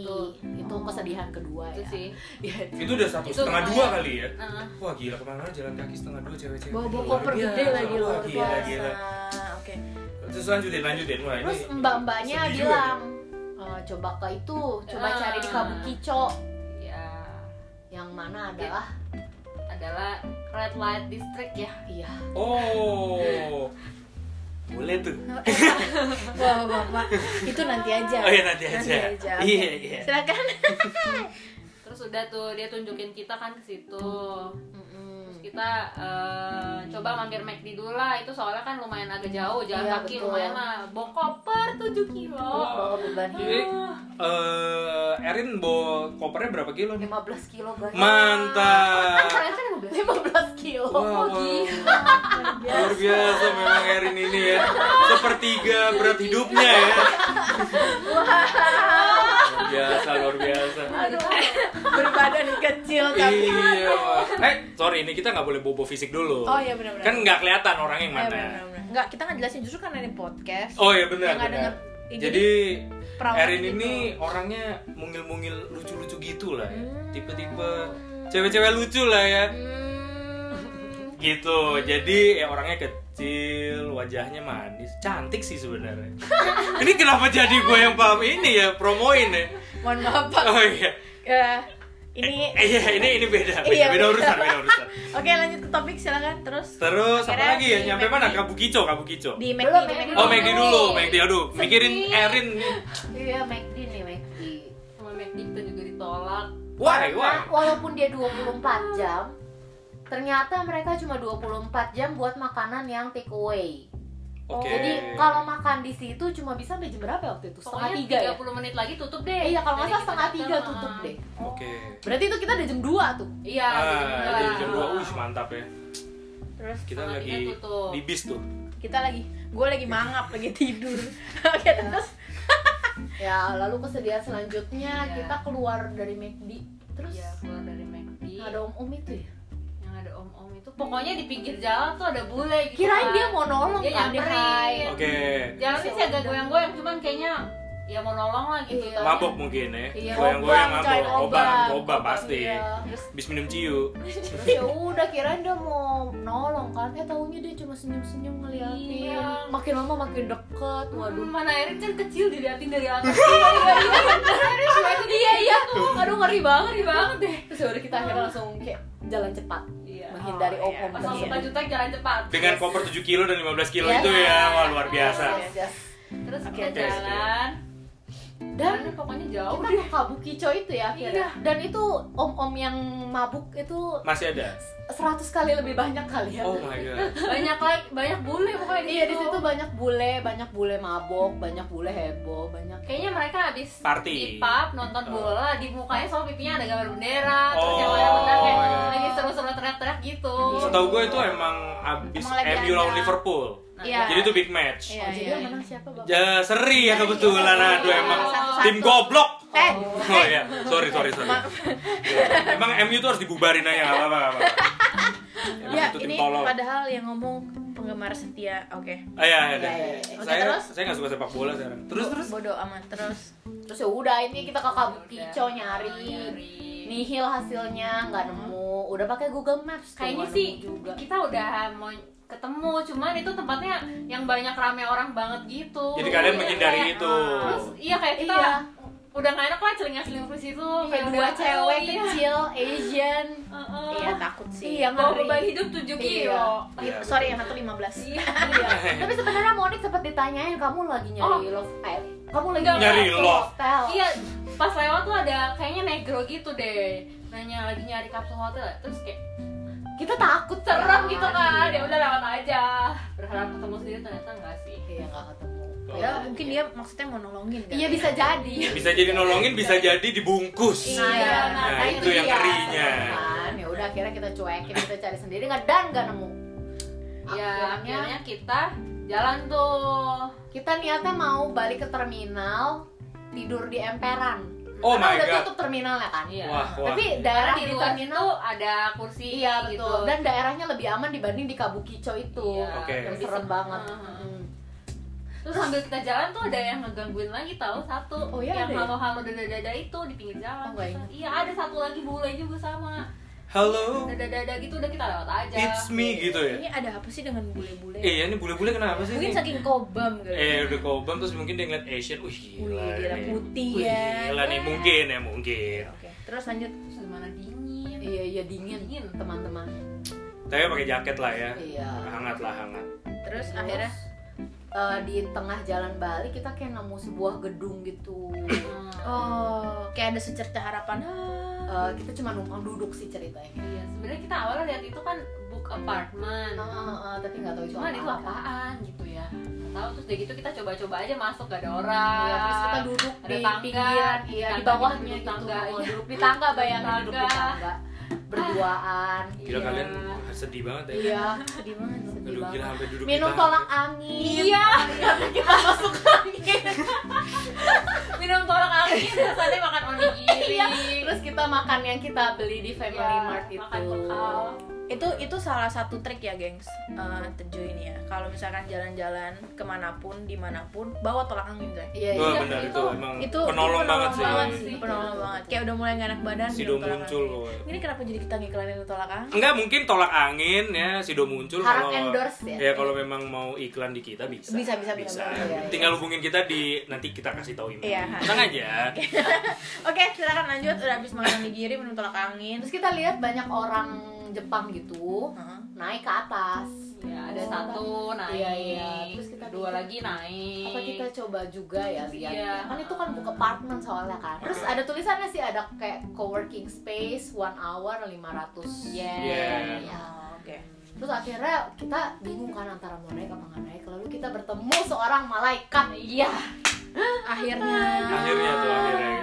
Speaker 4: kaki.
Speaker 3: tuh.
Speaker 4: Itu kesedihan kedua
Speaker 3: itu
Speaker 4: ya.
Speaker 3: sih Nah,
Speaker 4: Iya.
Speaker 2: Itu udah satu
Speaker 3: Itu
Speaker 2: setengah
Speaker 3: lumayan.
Speaker 2: dua kali ya.
Speaker 3: Heeh.
Speaker 2: Wah gila kemana-mana jalan kaki setengah dua cewek-cewek.
Speaker 4: Bawa-bawa
Speaker 2: Luar
Speaker 4: koper
Speaker 2: biasa.
Speaker 4: gede lagi,
Speaker 2: Wah,
Speaker 4: luar
Speaker 2: Gila,
Speaker 4: biasa.
Speaker 2: gila.
Speaker 1: Nah, oke
Speaker 2: Terus lanjutin, lanjutin. Wah, ini
Speaker 4: Terus mm. mbak-mbaknya
Speaker 2: sedih juga ya.
Speaker 4: bilang, "Eh, coba ke itu, coba
Speaker 3: Ah.
Speaker 4: cari di Kabukicho
Speaker 3: ya
Speaker 4: yang mana adalah
Speaker 3: adalah red light district ya
Speaker 4: iya
Speaker 2: nih. Oh. Boleh tuh.
Speaker 1: wah wah, wah, wah. itu nanti aja
Speaker 2: Oh iya nanti aja.
Speaker 1: oke.
Speaker 2: Iya, iya.
Speaker 1: silakan
Speaker 3: terus udah tuh dia tunjukin kita kan ke situ
Speaker 4: Mm-mm.
Speaker 3: terus gitu. kita eh, coba mampir McD dulu lah itu soalnya kan lumayan agak jauh jalan
Speaker 4: Iya,
Speaker 3: kaki
Speaker 4: betul.
Speaker 3: lumayan lah bawa koper 7 kilo
Speaker 4: bawa beban
Speaker 2: Ini
Speaker 4: hidup
Speaker 1: Ah.
Speaker 2: eh Erin bawa kopernya berapa kilo nih?
Speaker 4: 15 kilo guys
Speaker 3: kan
Speaker 2: Mantap.
Speaker 3: kalian kan udah
Speaker 4: 15 kilo
Speaker 2: Wow, wow. Luar biasa memang Erin ini ya. Sepertiga berat hidupnya ya. Luar biasa, luar biasa.
Speaker 4: gitu.
Speaker 1: berbadan kecil tapi
Speaker 2: Iya. Eh, sorry ini kita nggak boleh bobo fisik dulu.
Speaker 1: oh iya benar-benar
Speaker 2: Kan nggak kelihatan orang yang
Speaker 1: Eh,
Speaker 2: mana.
Speaker 1: benar-benar. Nggak, kita nggak jelasin justru karena ini podcast.
Speaker 2: Oh iya benar.
Speaker 1: Yang ada
Speaker 2: benar.
Speaker 1: nge- eh,
Speaker 2: Jadi
Speaker 1: perawan
Speaker 2: Erin
Speaker 1: gitu.
Speaker 2: ini orangnya mungil-mungil lucu-lucu gitu lah ya.
Speaker 1: Hmm.
Speaker 2: Tipe-tipe cewek-cewek lucu lah ya.
Speaker 1: Hmm.
Speaker 2: Gitu. Jadi ya orangnya kecil, wajahnya manis, cantik sih sebenarnya. ini kenapa jadi gue yang paham ini ya promoin ya?
Speaker 1: Mohon maaf Pak.
Speaker 2: Oh iya.
Speaker 1: Eh,
Speaker 2: Eh,
Speaker 1: ini
Speaker 2: Iya, ini ini beda. Beda,
Speaker 1: Iya,
Speaker 2: beda
Speaker 1: beda.
Speaker 2: urusan, beda urusan.
Speaker 1: Oke, lanjut ke topik silakan. Terus
Speaker 2: Terus
Speaker 1: Akhirnya
Speaker 2: apa lagi ya?
Speaker 1: di
Speaker 2: Nyampe
Speaker 1: McD.
Speaker 2: mana? Kabukicho, Kabukicho.
Speaker 1: di McD,
Speaker 4: Belum,
Speaker 1: di
Speaker 4: McD.
Speaker 2: Oh,
Speaker 1: McD.
Speaker 2: McD dulu, McD. Aduh, mikirin Erin nih.
Speaker 4: iya McD nih McD
Speaker 3: sama McD kita juga ditolak
Speaker 2: Why, why?
Speaker 4: Nah, walaupun dia 24 jam ternyata mereka cuma 24 jam buat makanan yang take away
Speaker 1: Oh,
Speaker 2: Oke.
Speaker 4: Jadi kalau makan di situ cuma bisa sampai jam berapa waktu itu? Setengah
Speaker 3: Pokoknya
Speaker 4: tiga ya?
Speaker 3: 30 menit lagi tutup deh.
Speaker 4: Eh, iya kalau nggak
Speaker 3: Nanti
Speaker 4: salah
Speaker 3: kita
Speaker 4: setengah
Speaker 3: datang,
Speaker 4: tiga
Speaker 3: ah.
Speaker 4: tutup deh.
Speaker 2: Oke.
Speaker 4: Berarti itu kita udah jam 2 tuh.
Speaker 3: Iya,
Speaker 2: Ah,
Speaker 3: dua.
Speaker 2: dari jam 2 wih mantap ya.
Speaker 1: terus
Speaker 2: Kita
Speaker 3: Sama
Speaker 2: lagi
Speaker 3: tiga tutup.
Speaker 2: di bis tuh.
Speaker 1: kita lagi gue lagi mangap lagi tidur oke terus
Speaker 4: Ya, lalu kesedihan selanjutnya
Speaker 3: Iya.
Speaker 4: kita keluar dari McD. Terus
Speaker 3: Iya, keluar dari McD.
Speaker 4: ada om-om itu ya?
Speaker 3: Yang ada om-om itu pokoknya di pinggir jalan tuh ada bule gitu.
Speaker 4: Kirain
Speaker 3: kan.
Speaker 4: dia mau nolong
Speaker 3: Dia
Speaker 4: kan, dia
Speaker 3: nyamperin.
Speaker 4: hai.
Speaker 2: Oke.
Speaker 3: Jalannya sih agak goyang-goyang cuman kayaknya ya mau nolong lah gitu.
Speaker 4: Iya.
Speaker 3: Taunya-
Speaker 2: Mabok mungkin ya.
Speaker 4: Iya,
Speaker 2: Goyang-goyang
Speaker 1: obang,
Speaker 2: mabok,
Speaker 1: coy,
Speaker 2: obang,
Speaker 1: obang,
Speaker 2: obang pasti.
Speaker 4: Iya.
Speaker 2: Bis minum ciu.
Speaker 4: Terus ya udah kirain dia mau nolong kan. Eh taunya dia cuma senyum-senyum ngeliatin.
Speaker 3: Iya.
Speaker 4: Makin lama makin deket.
Speaker 3: Waduh,
Speaker 4: Waduh.
Speaker 3: mana Erin kan kecil diliatin dari atas. Iya, iya, iya. Erin cuma itu dia, iya.
Speaker 4: Aduh ngeri banget.
Speaker 3: Ngeri banget deh.
Speaker 4: Terus ya udah kita akhirnya langsung kayak jalan cepat
Speaker 3: Iya.
Speaker 4: menghindari
Speaker 1: Oh,
Speaker 4: om-om
Speaker 1: iya.
Speaker 3: Pas
Speaker 4: tadi.
Speaker 3: langsung baju tek jalan cepat.
Speaker 2: Dengan
Speaker 3: Terus-
Speaker 2: koper 7 kilo dan 15 kilo
Speaker 4: Yes.
Speaker 2: itu ya, wah luar biasa.
Speaker 4: Yes, yes.
Speaker 3: Terus
Speaker 1: Oke,
Speaker 3: kita
Speaker 2: oke, oke.
Speaker 3: jalan. Dan
Speaker 4: Dan
Speaker 3: pokoknya jauh
Speaker 4: kita
Speaker 3: deh.
Speaker 4: ke Kabukicho itu ya akhirnya.
Speaker 3: Iya.
Speaker 4: Dan itu om-om yang mabuk itu
Speaker 2: Masih ada.
Speaker 4: 100 kali lebih banyak kali ya.
Speaker 2: Oh my god.
Speaker 3: Banyak like, banyak bule pokoknya di
Speaker 4: Iya di
Speaker 3: situ.
Speaker 4: situ banyak bule, banyak bule mabok, banyak bule heboh, banyak
Speaker 3: Kayaknya mereka habis
Speaker 2: Party. Gitu.
Speaker 3: pipap, nonton bola, di mukanya sama pipinya ada gambar bendera, terus
Speaker 2: Oh,
Speaker 3: yang lain benar kayak
Speaker 2: iya.
Speaker 3: lagi seru-seru teriak-teriak gitu.
Speaker 2: Setahu gue itu emang abis
Speaker 1: Emang lagi
Speaker 2: MU lawan
Speaker 1: ada.
Speaker 2: Liverpool.
Speaker 1: Iya.
Speaker 2: Jadi itu big match.
Speaker 1: Iya,
Speaker 4: Oh, jadi
Speaker 1: iya,
Speaker 4: yang
Speaker 1: iya.
Speaker 4: menang siapa bang?
Speaker 2: Ya seri
Speaker 4: Iya,
Speaker 2: ya kebetulan aduh emang
Speaker 1: Satu-satu.
Speaker 2: tim goblok.
Speaker 1: eh
Speaker 2: Oh iya, sorry sorry sorry.
Speaker 1: Maaf.
Speaker 2: Ya, Emang MU tuh harus dibubarin aja nggak apa-apa. nggak apa-apa. Emang
Speaker 1: ya
Speaker 2: itu tim
Speaker 1: ini
Speaker 2: tolol.
Speaker 1: padahal yang ngomong penggemar setia oke
Speaker 2: Ah, ya, ya,
Speaker 4: Ya,
Speaker 2: ya.
Speaker 4: ya, ya.
Speaker 1: Oke,
Speaker 2: Saya
Speaker 1: terus?
Speaker 2: saya nggak suka sepak bola sekarang. Terus terus.
Speaker 1: bodoh amat terus
Speaker 4: Terus ya udah ini kita ke Kabukicho
Speaker 3: Udah.
Speaker 4: nyari.
Speaker 3: Nih,
Speaker 4: Nihil hasilnya nggak nemu. Udah pakai Google Maps.
Speaker 3: Iya.
Speaker 4: tuh,
Speaker 3: kayaknya
Speaker 4: nggak
Speaker 3: sih
Speaker 4: nemu juga.
Speaker 3: kita udah mau ketemu, cuman itu tempatnya yang banyak rame orang banget gitu.
Speaker 2: Jadi kalian
Speaker 3: Iya,
Speaker 2: menghindari
Speaker 3: kayak-
Speaker 2: itu.
Speaker 3: Terus iya kayak kita Oh,
Speaker 4: Iya.
Speaker 3: udah gak enak lah celing-celing terus itu
Speaker 4: Kayak dua cewek
Speaker 3: iya.
Speaker 4: kecil Asian.
Speaker 1: iya takut sih
Speaker 4: Iya,
Speaker 3: Bawa
Speaker 4: ngeri.
Speaker 3: beban hidup 7
Speaker 4: Iya.
Speaker 3: kilo.
Speaker 2: Iya,
Speaker 1: sorry yang satu lima belas
Speaker 3: Iya.
Speaker 4: Tapi sebenarnya Monik sempat ditanyain kamu lagi nyari love eh kamu lagi
Speaker 3: Oh. Nggak,
Speaker 2: Nyari love.
Speaker 4: hotel.
Speaker 3: Iya, pas lewat tuh ada kayaknya negro gitu deh. Nanya lagi nyari kapsul hotel, terus kayak
Speaker 4: Kita takut
Speaker 3: serem gitu kan. Ya
Speaker 4: Iya.
Speaker 3: udah lewat aja. Berharap ketemu sendiri ternyata enggak sih.
Speaker 4: Iya nggak ketemu.
Speaker 1: ya mungkin dia maksudnya mau nolongin kan
Speaker 4: Iya bisa jadi.
Speaker 2: Oh.
Speaker 4: ya,
Speaker 2: Bisa jadi nolongin, bisa jadi dibungkus.
Speaker 3: Iya, nah,
Speaker 2: Nah, itu yang
Speaker 4: dia.
Speaker 2: ngerinya.
Speaker 4: Kan, ya udah akhirnya kita cuekin, kita cari sendiri nggak dan nggak nemu.
Speaker 3: Ya,
Speaker 4: Akhirnya
Speaker 3: akhirnya kita jalan tuh.
Speaker 4: kita niatnya mau balik ke terminal tidur di emperan.
Speaker 2: Oh my
Speaker 4: Karena udah
Speaker 2: God.
Speaker 4: tutup terminalnya kan.
Speaker 3: Iya.
Speaker 2: Wah, wah.
Speaker 4: Tapi
Speaker 3: Karena
Speaker 4: daerah
Speaker 3: di
Speaker 4: di,
Speaker 3: luar
Speaker 4: terminal
Speaker 3: tuh ada kursi
Speaker 4: Iya
Speaker 3: gitu.
Speaker 4: betul. Dan daerahnya lebih aman dibanding di Kabukicho itu.
Speaker 3: Iya,
Speaker 2: Oke.
Speaker 4: Yang
Speaker 3: lebih
Speaker 4: serem
Speaker 3: se-
Speaker 4: banget.
Speaker 3: Uh-huh.
Speaker 4: Hmm.
Speaker 3: Terus sambil kita jalan tuh ada yang ngegangguin lagi tahu satu
Speaker 4: Oh, iya,
Speaker 3: yang
Speaker 4: ada ya?
Speaker 3: halo-halo dada-dada itu di pinggir
Speaker 4: Oh,
Speaker 3: jalan.
Speaker 4: nggak
Speaker 3: Kita-
Speaker 4: ingat.
Speaker 3: iya, ada satu lagi bule juga sama.
Speaker 2: Hello,
Speaker 3: Dada-dada gitu udah kita lewat aja.
Speaker 2: it's me gitu ya.
Speaker 1: ini ada apa sih dengan bule-bule
Speaker 2: Iya, ini bule-bule kenapa
Speaker 1: Iya.
Speaker 2: sih?
Speaker 1: mungkin
Speaker 2: ini?
Speaker 1: saking kobam kali ya?
Speaker 2: Eh udah kobam terus mungkin dia ngeliat Asian, wih gila,
Speaker 1: Wih, gila,
Speaker 2: nih.
Speaker 1: putih
Speaker 2: Wih,
Speaker 1: ya.
Speaker 2: Gila nih mungkin ya mungkin.
Speaker 1: oke terus lanjut
Speaker 3: Terus gimana dingin.
Speaker 4: Iya iya dingin teman-teman.
Speaker 2: Tapi pakai jaket lah ya,
Speaker 4: Iya.
Speaker 2: hangat lah hangat.
Speaker 1: terus akhirnya
Speaker 4: eh, di tengah jalan Bali kita kayak nemu sebuah gedung gitu.
Speaker 3: Hmm.
Speaker 1: oh kayak ada secerca harapan ah.
Speaker 4: Eh, kita cuma numpang duduk sih ceritanya.
Speaker 3: Iya, sebenarnya kita awalnya lihat itu kan book apartment.
Speaker 4: Eh, eh, eh, tapi nggak tahu itu
Speaker 3: Cuman itu apaan gitu ya. Nggak Tahu terus udah gitu kita coba-coba aja masuk gak ada orang.
Speaker 4: Iya, terus kita duduk
Speaker 3: Ada
Speaker 4: di
Speaker 3: tangga,
Speaker 4: pinggiran,
Speaker 3: di
Speaker 4: iya di
Speaker 3: tangga,
Speaker 4: bawahnya
Speaker 3: duduk
Speaker 4: gitu.
Speaker 3: tangga,
Speaker 4: Oh,
Speaker 3: iya.
Speaker 4: Duduk di tangga bayangin
Speaker 3: Tangga.
Speaker 4: duduk di tangga berduaan.
Speaker 2: Gila
Speaker 3: Iya.
Speaker 2: kalian sedih banget ya.
Speaker 4: Iya.
Speaker 1: sedih banget
Speaker 4: sedih
Speaker 2: Aduh gila
Speaker 4: banget.
Speaker 2: sampai duduk
Speaker 4: Minum
Speaker 2: di
Speaker 4: tolak angin.
Speaker 3: Iya, kita masuk angin. Minum tolak angin, terus tadi makan onigiri.
Speaker 4: Iya, terus kita makan yang kita beli di Family
Speaker 3: Iya,
Speaker 4: Mart itu.
Speaker 3: makan bekal.
Speaker 1: itu itu salah satu trik ya gengs Eh teju ini ya kalau misalkan jalan-jalan kemanapun dimanapun bawa tolak angin coy
Speaker 4: Iya,
Speaker 2: Wah
Speaker 4: iya.
Speaker 2: benar
Speaker 3: itu-
Speaker 2: itu emang
Speaker 1: itu
Speaker 2: penolong banget sih.
Speaker 1: sih, penolong banget kayak udah mulai gak enak badan
Speaker 2: Sido
Speaker 1: minum tolak
Speaker 2: muncul
Speaker 1: angin.
Speaker 2: pokoknya.
Speaker 1: ini kenapa jadi kita ngiklanin tolak angin
Speaker 2: Enggak mungkin tolak angin ya Sido muncul
Speaker 4: Harap
Speaker 2: kalau
Speaker 4: endorse ya.
Speaker 2: kalau memang mau iklan di kita bisa.
Speaker 1: Bisa, bisa, bisa.
Speaker 4: Iya, iya.
Speaker 2: Tinggal hubungin kita di nanti kita kasih tahu email.
Speaker 1: Iya.
Speaker 2: Tenang aja.
Speaker 1: oke silakan lanjut udah habis makan onigiri minum tolak angin
Speaker 4: Terus kita lihat banyak orang Jepang gitu
Speaker 1: Heeh.
Speaker 4: naik ke atas.
Speaker 3: Ya, ada
Speaker 4: Oh,
Speaker 3: satu naik.
Speaker 4: Iya, iya. Terus kita
Speaker 3: dua
Speaker 4: pikir,
Speaker 3: lagi naik.
Speaker 4: Apa kita coba juga ya lihat?
Speaker 3: Iya.
Speaker 4: ya? Kan itu kan buka apartemen soalnya kan. Terus ada tulisannya sih ada kayak co-working space one hour 500 ratus.
Speaker 3: Yes.
Speaker 2: Iya.
Speaker 1: Oh, oke
Speaker 4: terus akhirnya kita bingung kan antara mau naik apa nggak naik lalu kita bertemu seorang malaikat
Speaker 3: Iya.
Speaker 1: akhirnya
Speaker 2: Akhirnya tuh akhirnya.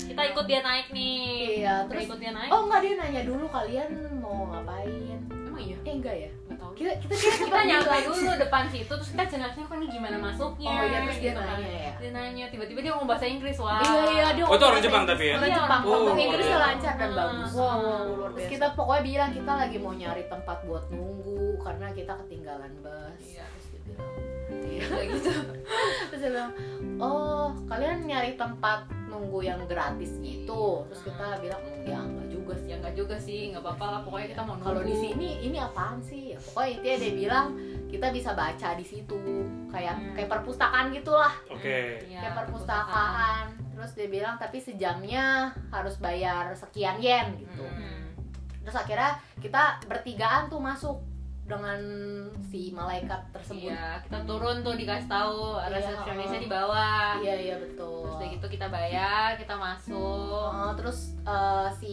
Speaker 3: Kita ikut dia naik nih.
Speaker 4: Iya,
Speaker 3: Kita
Speaker 4: terus-
Speaker 3: ikut dia naik.
Speaker 4: oh nggak dia nanya dulu kalian mau ngapain
Speaker 3: emang iya.
Speaker 4: eh enggak ya
Speaker 3: Gak tahu.
Speaker 4: kita kita kita,
Speaker 3: Kita nyampe dulu depan situ terus kita jelasnya kan ini gimana masuknya.
Speaker 4: Oh iya, terus dia
Speaker 3: gitu kan.
Speaker 4: nanya ya?
Speaker 3: Dia nanya tiba-tiba dia ngomong bahasa Inggris wah.
Speaker 4: Iya iya dia
Speaker 2: Oh, itu orang
Speaker 4: ngomong
Speaker 2: Jepang
Speaker 4: bahasa
Speaker 2: tapi ya?
Speaker 4: Orang
Speaker 3: Iya,
Speaker 4: Jepang,
Speaker 2: orang
Speaker 4: ngomong
Speaker 2: Jepang.
Speaker 4: Inggrisnya lancar dan
Speaker 3: Ah.
Speaker 4: bagus.
Speaker 3: Wow, wow, luar
Speaker 4: Terus
Speaker 3: biasa.
Speaker 4: kita pokoknya bilang kita lagi mau nyari tempat buat nunggu karena kita ketinggalan bus.
Speaker 3: Iya.
Speaker 4: Terus dia bilang, "Iya."
Speaker 3: Kayak gitu.
Speaker 4: terus dia bilang, oh kalian nyari tempat nunggu yang gratis gitu. Terus kita bilang, "Mm, ya enggak juga sih.
Speaker 3: Ya enggak juga sih, enggak apa-apa lah pokoknya kita mau nunggu.
Speaker 4: Kalau di sini ini apaan sih? Ya, pokoknya intinya dia bilang kita bisa baca di situ kayak
Speaker 1: Hmm.
Speaker 4: kayak perpustakaan gitulah.
Speaker 2: Oke.
Speaker 3: Iya,
Speaker 4: kayak perpustakaan terus dia bilang tapi sejamnya harus bayar sekian yen gitu
Speaker 1: Hmm.
Speaker 4: terus akhirnya kita bertigaan tuh masuk dengan si malaikat tersebut
Speaker 3: Iya, kita turun tuh dikasih tahu
Speaker 4: Iya.
Speaker 3: resepsionisnya di bawah.
Speaker 4: iya iya betul
Speaker 3: Terus udah gitu kita bayar, kita masuk.
Speaker 4: Oh, terus eh, si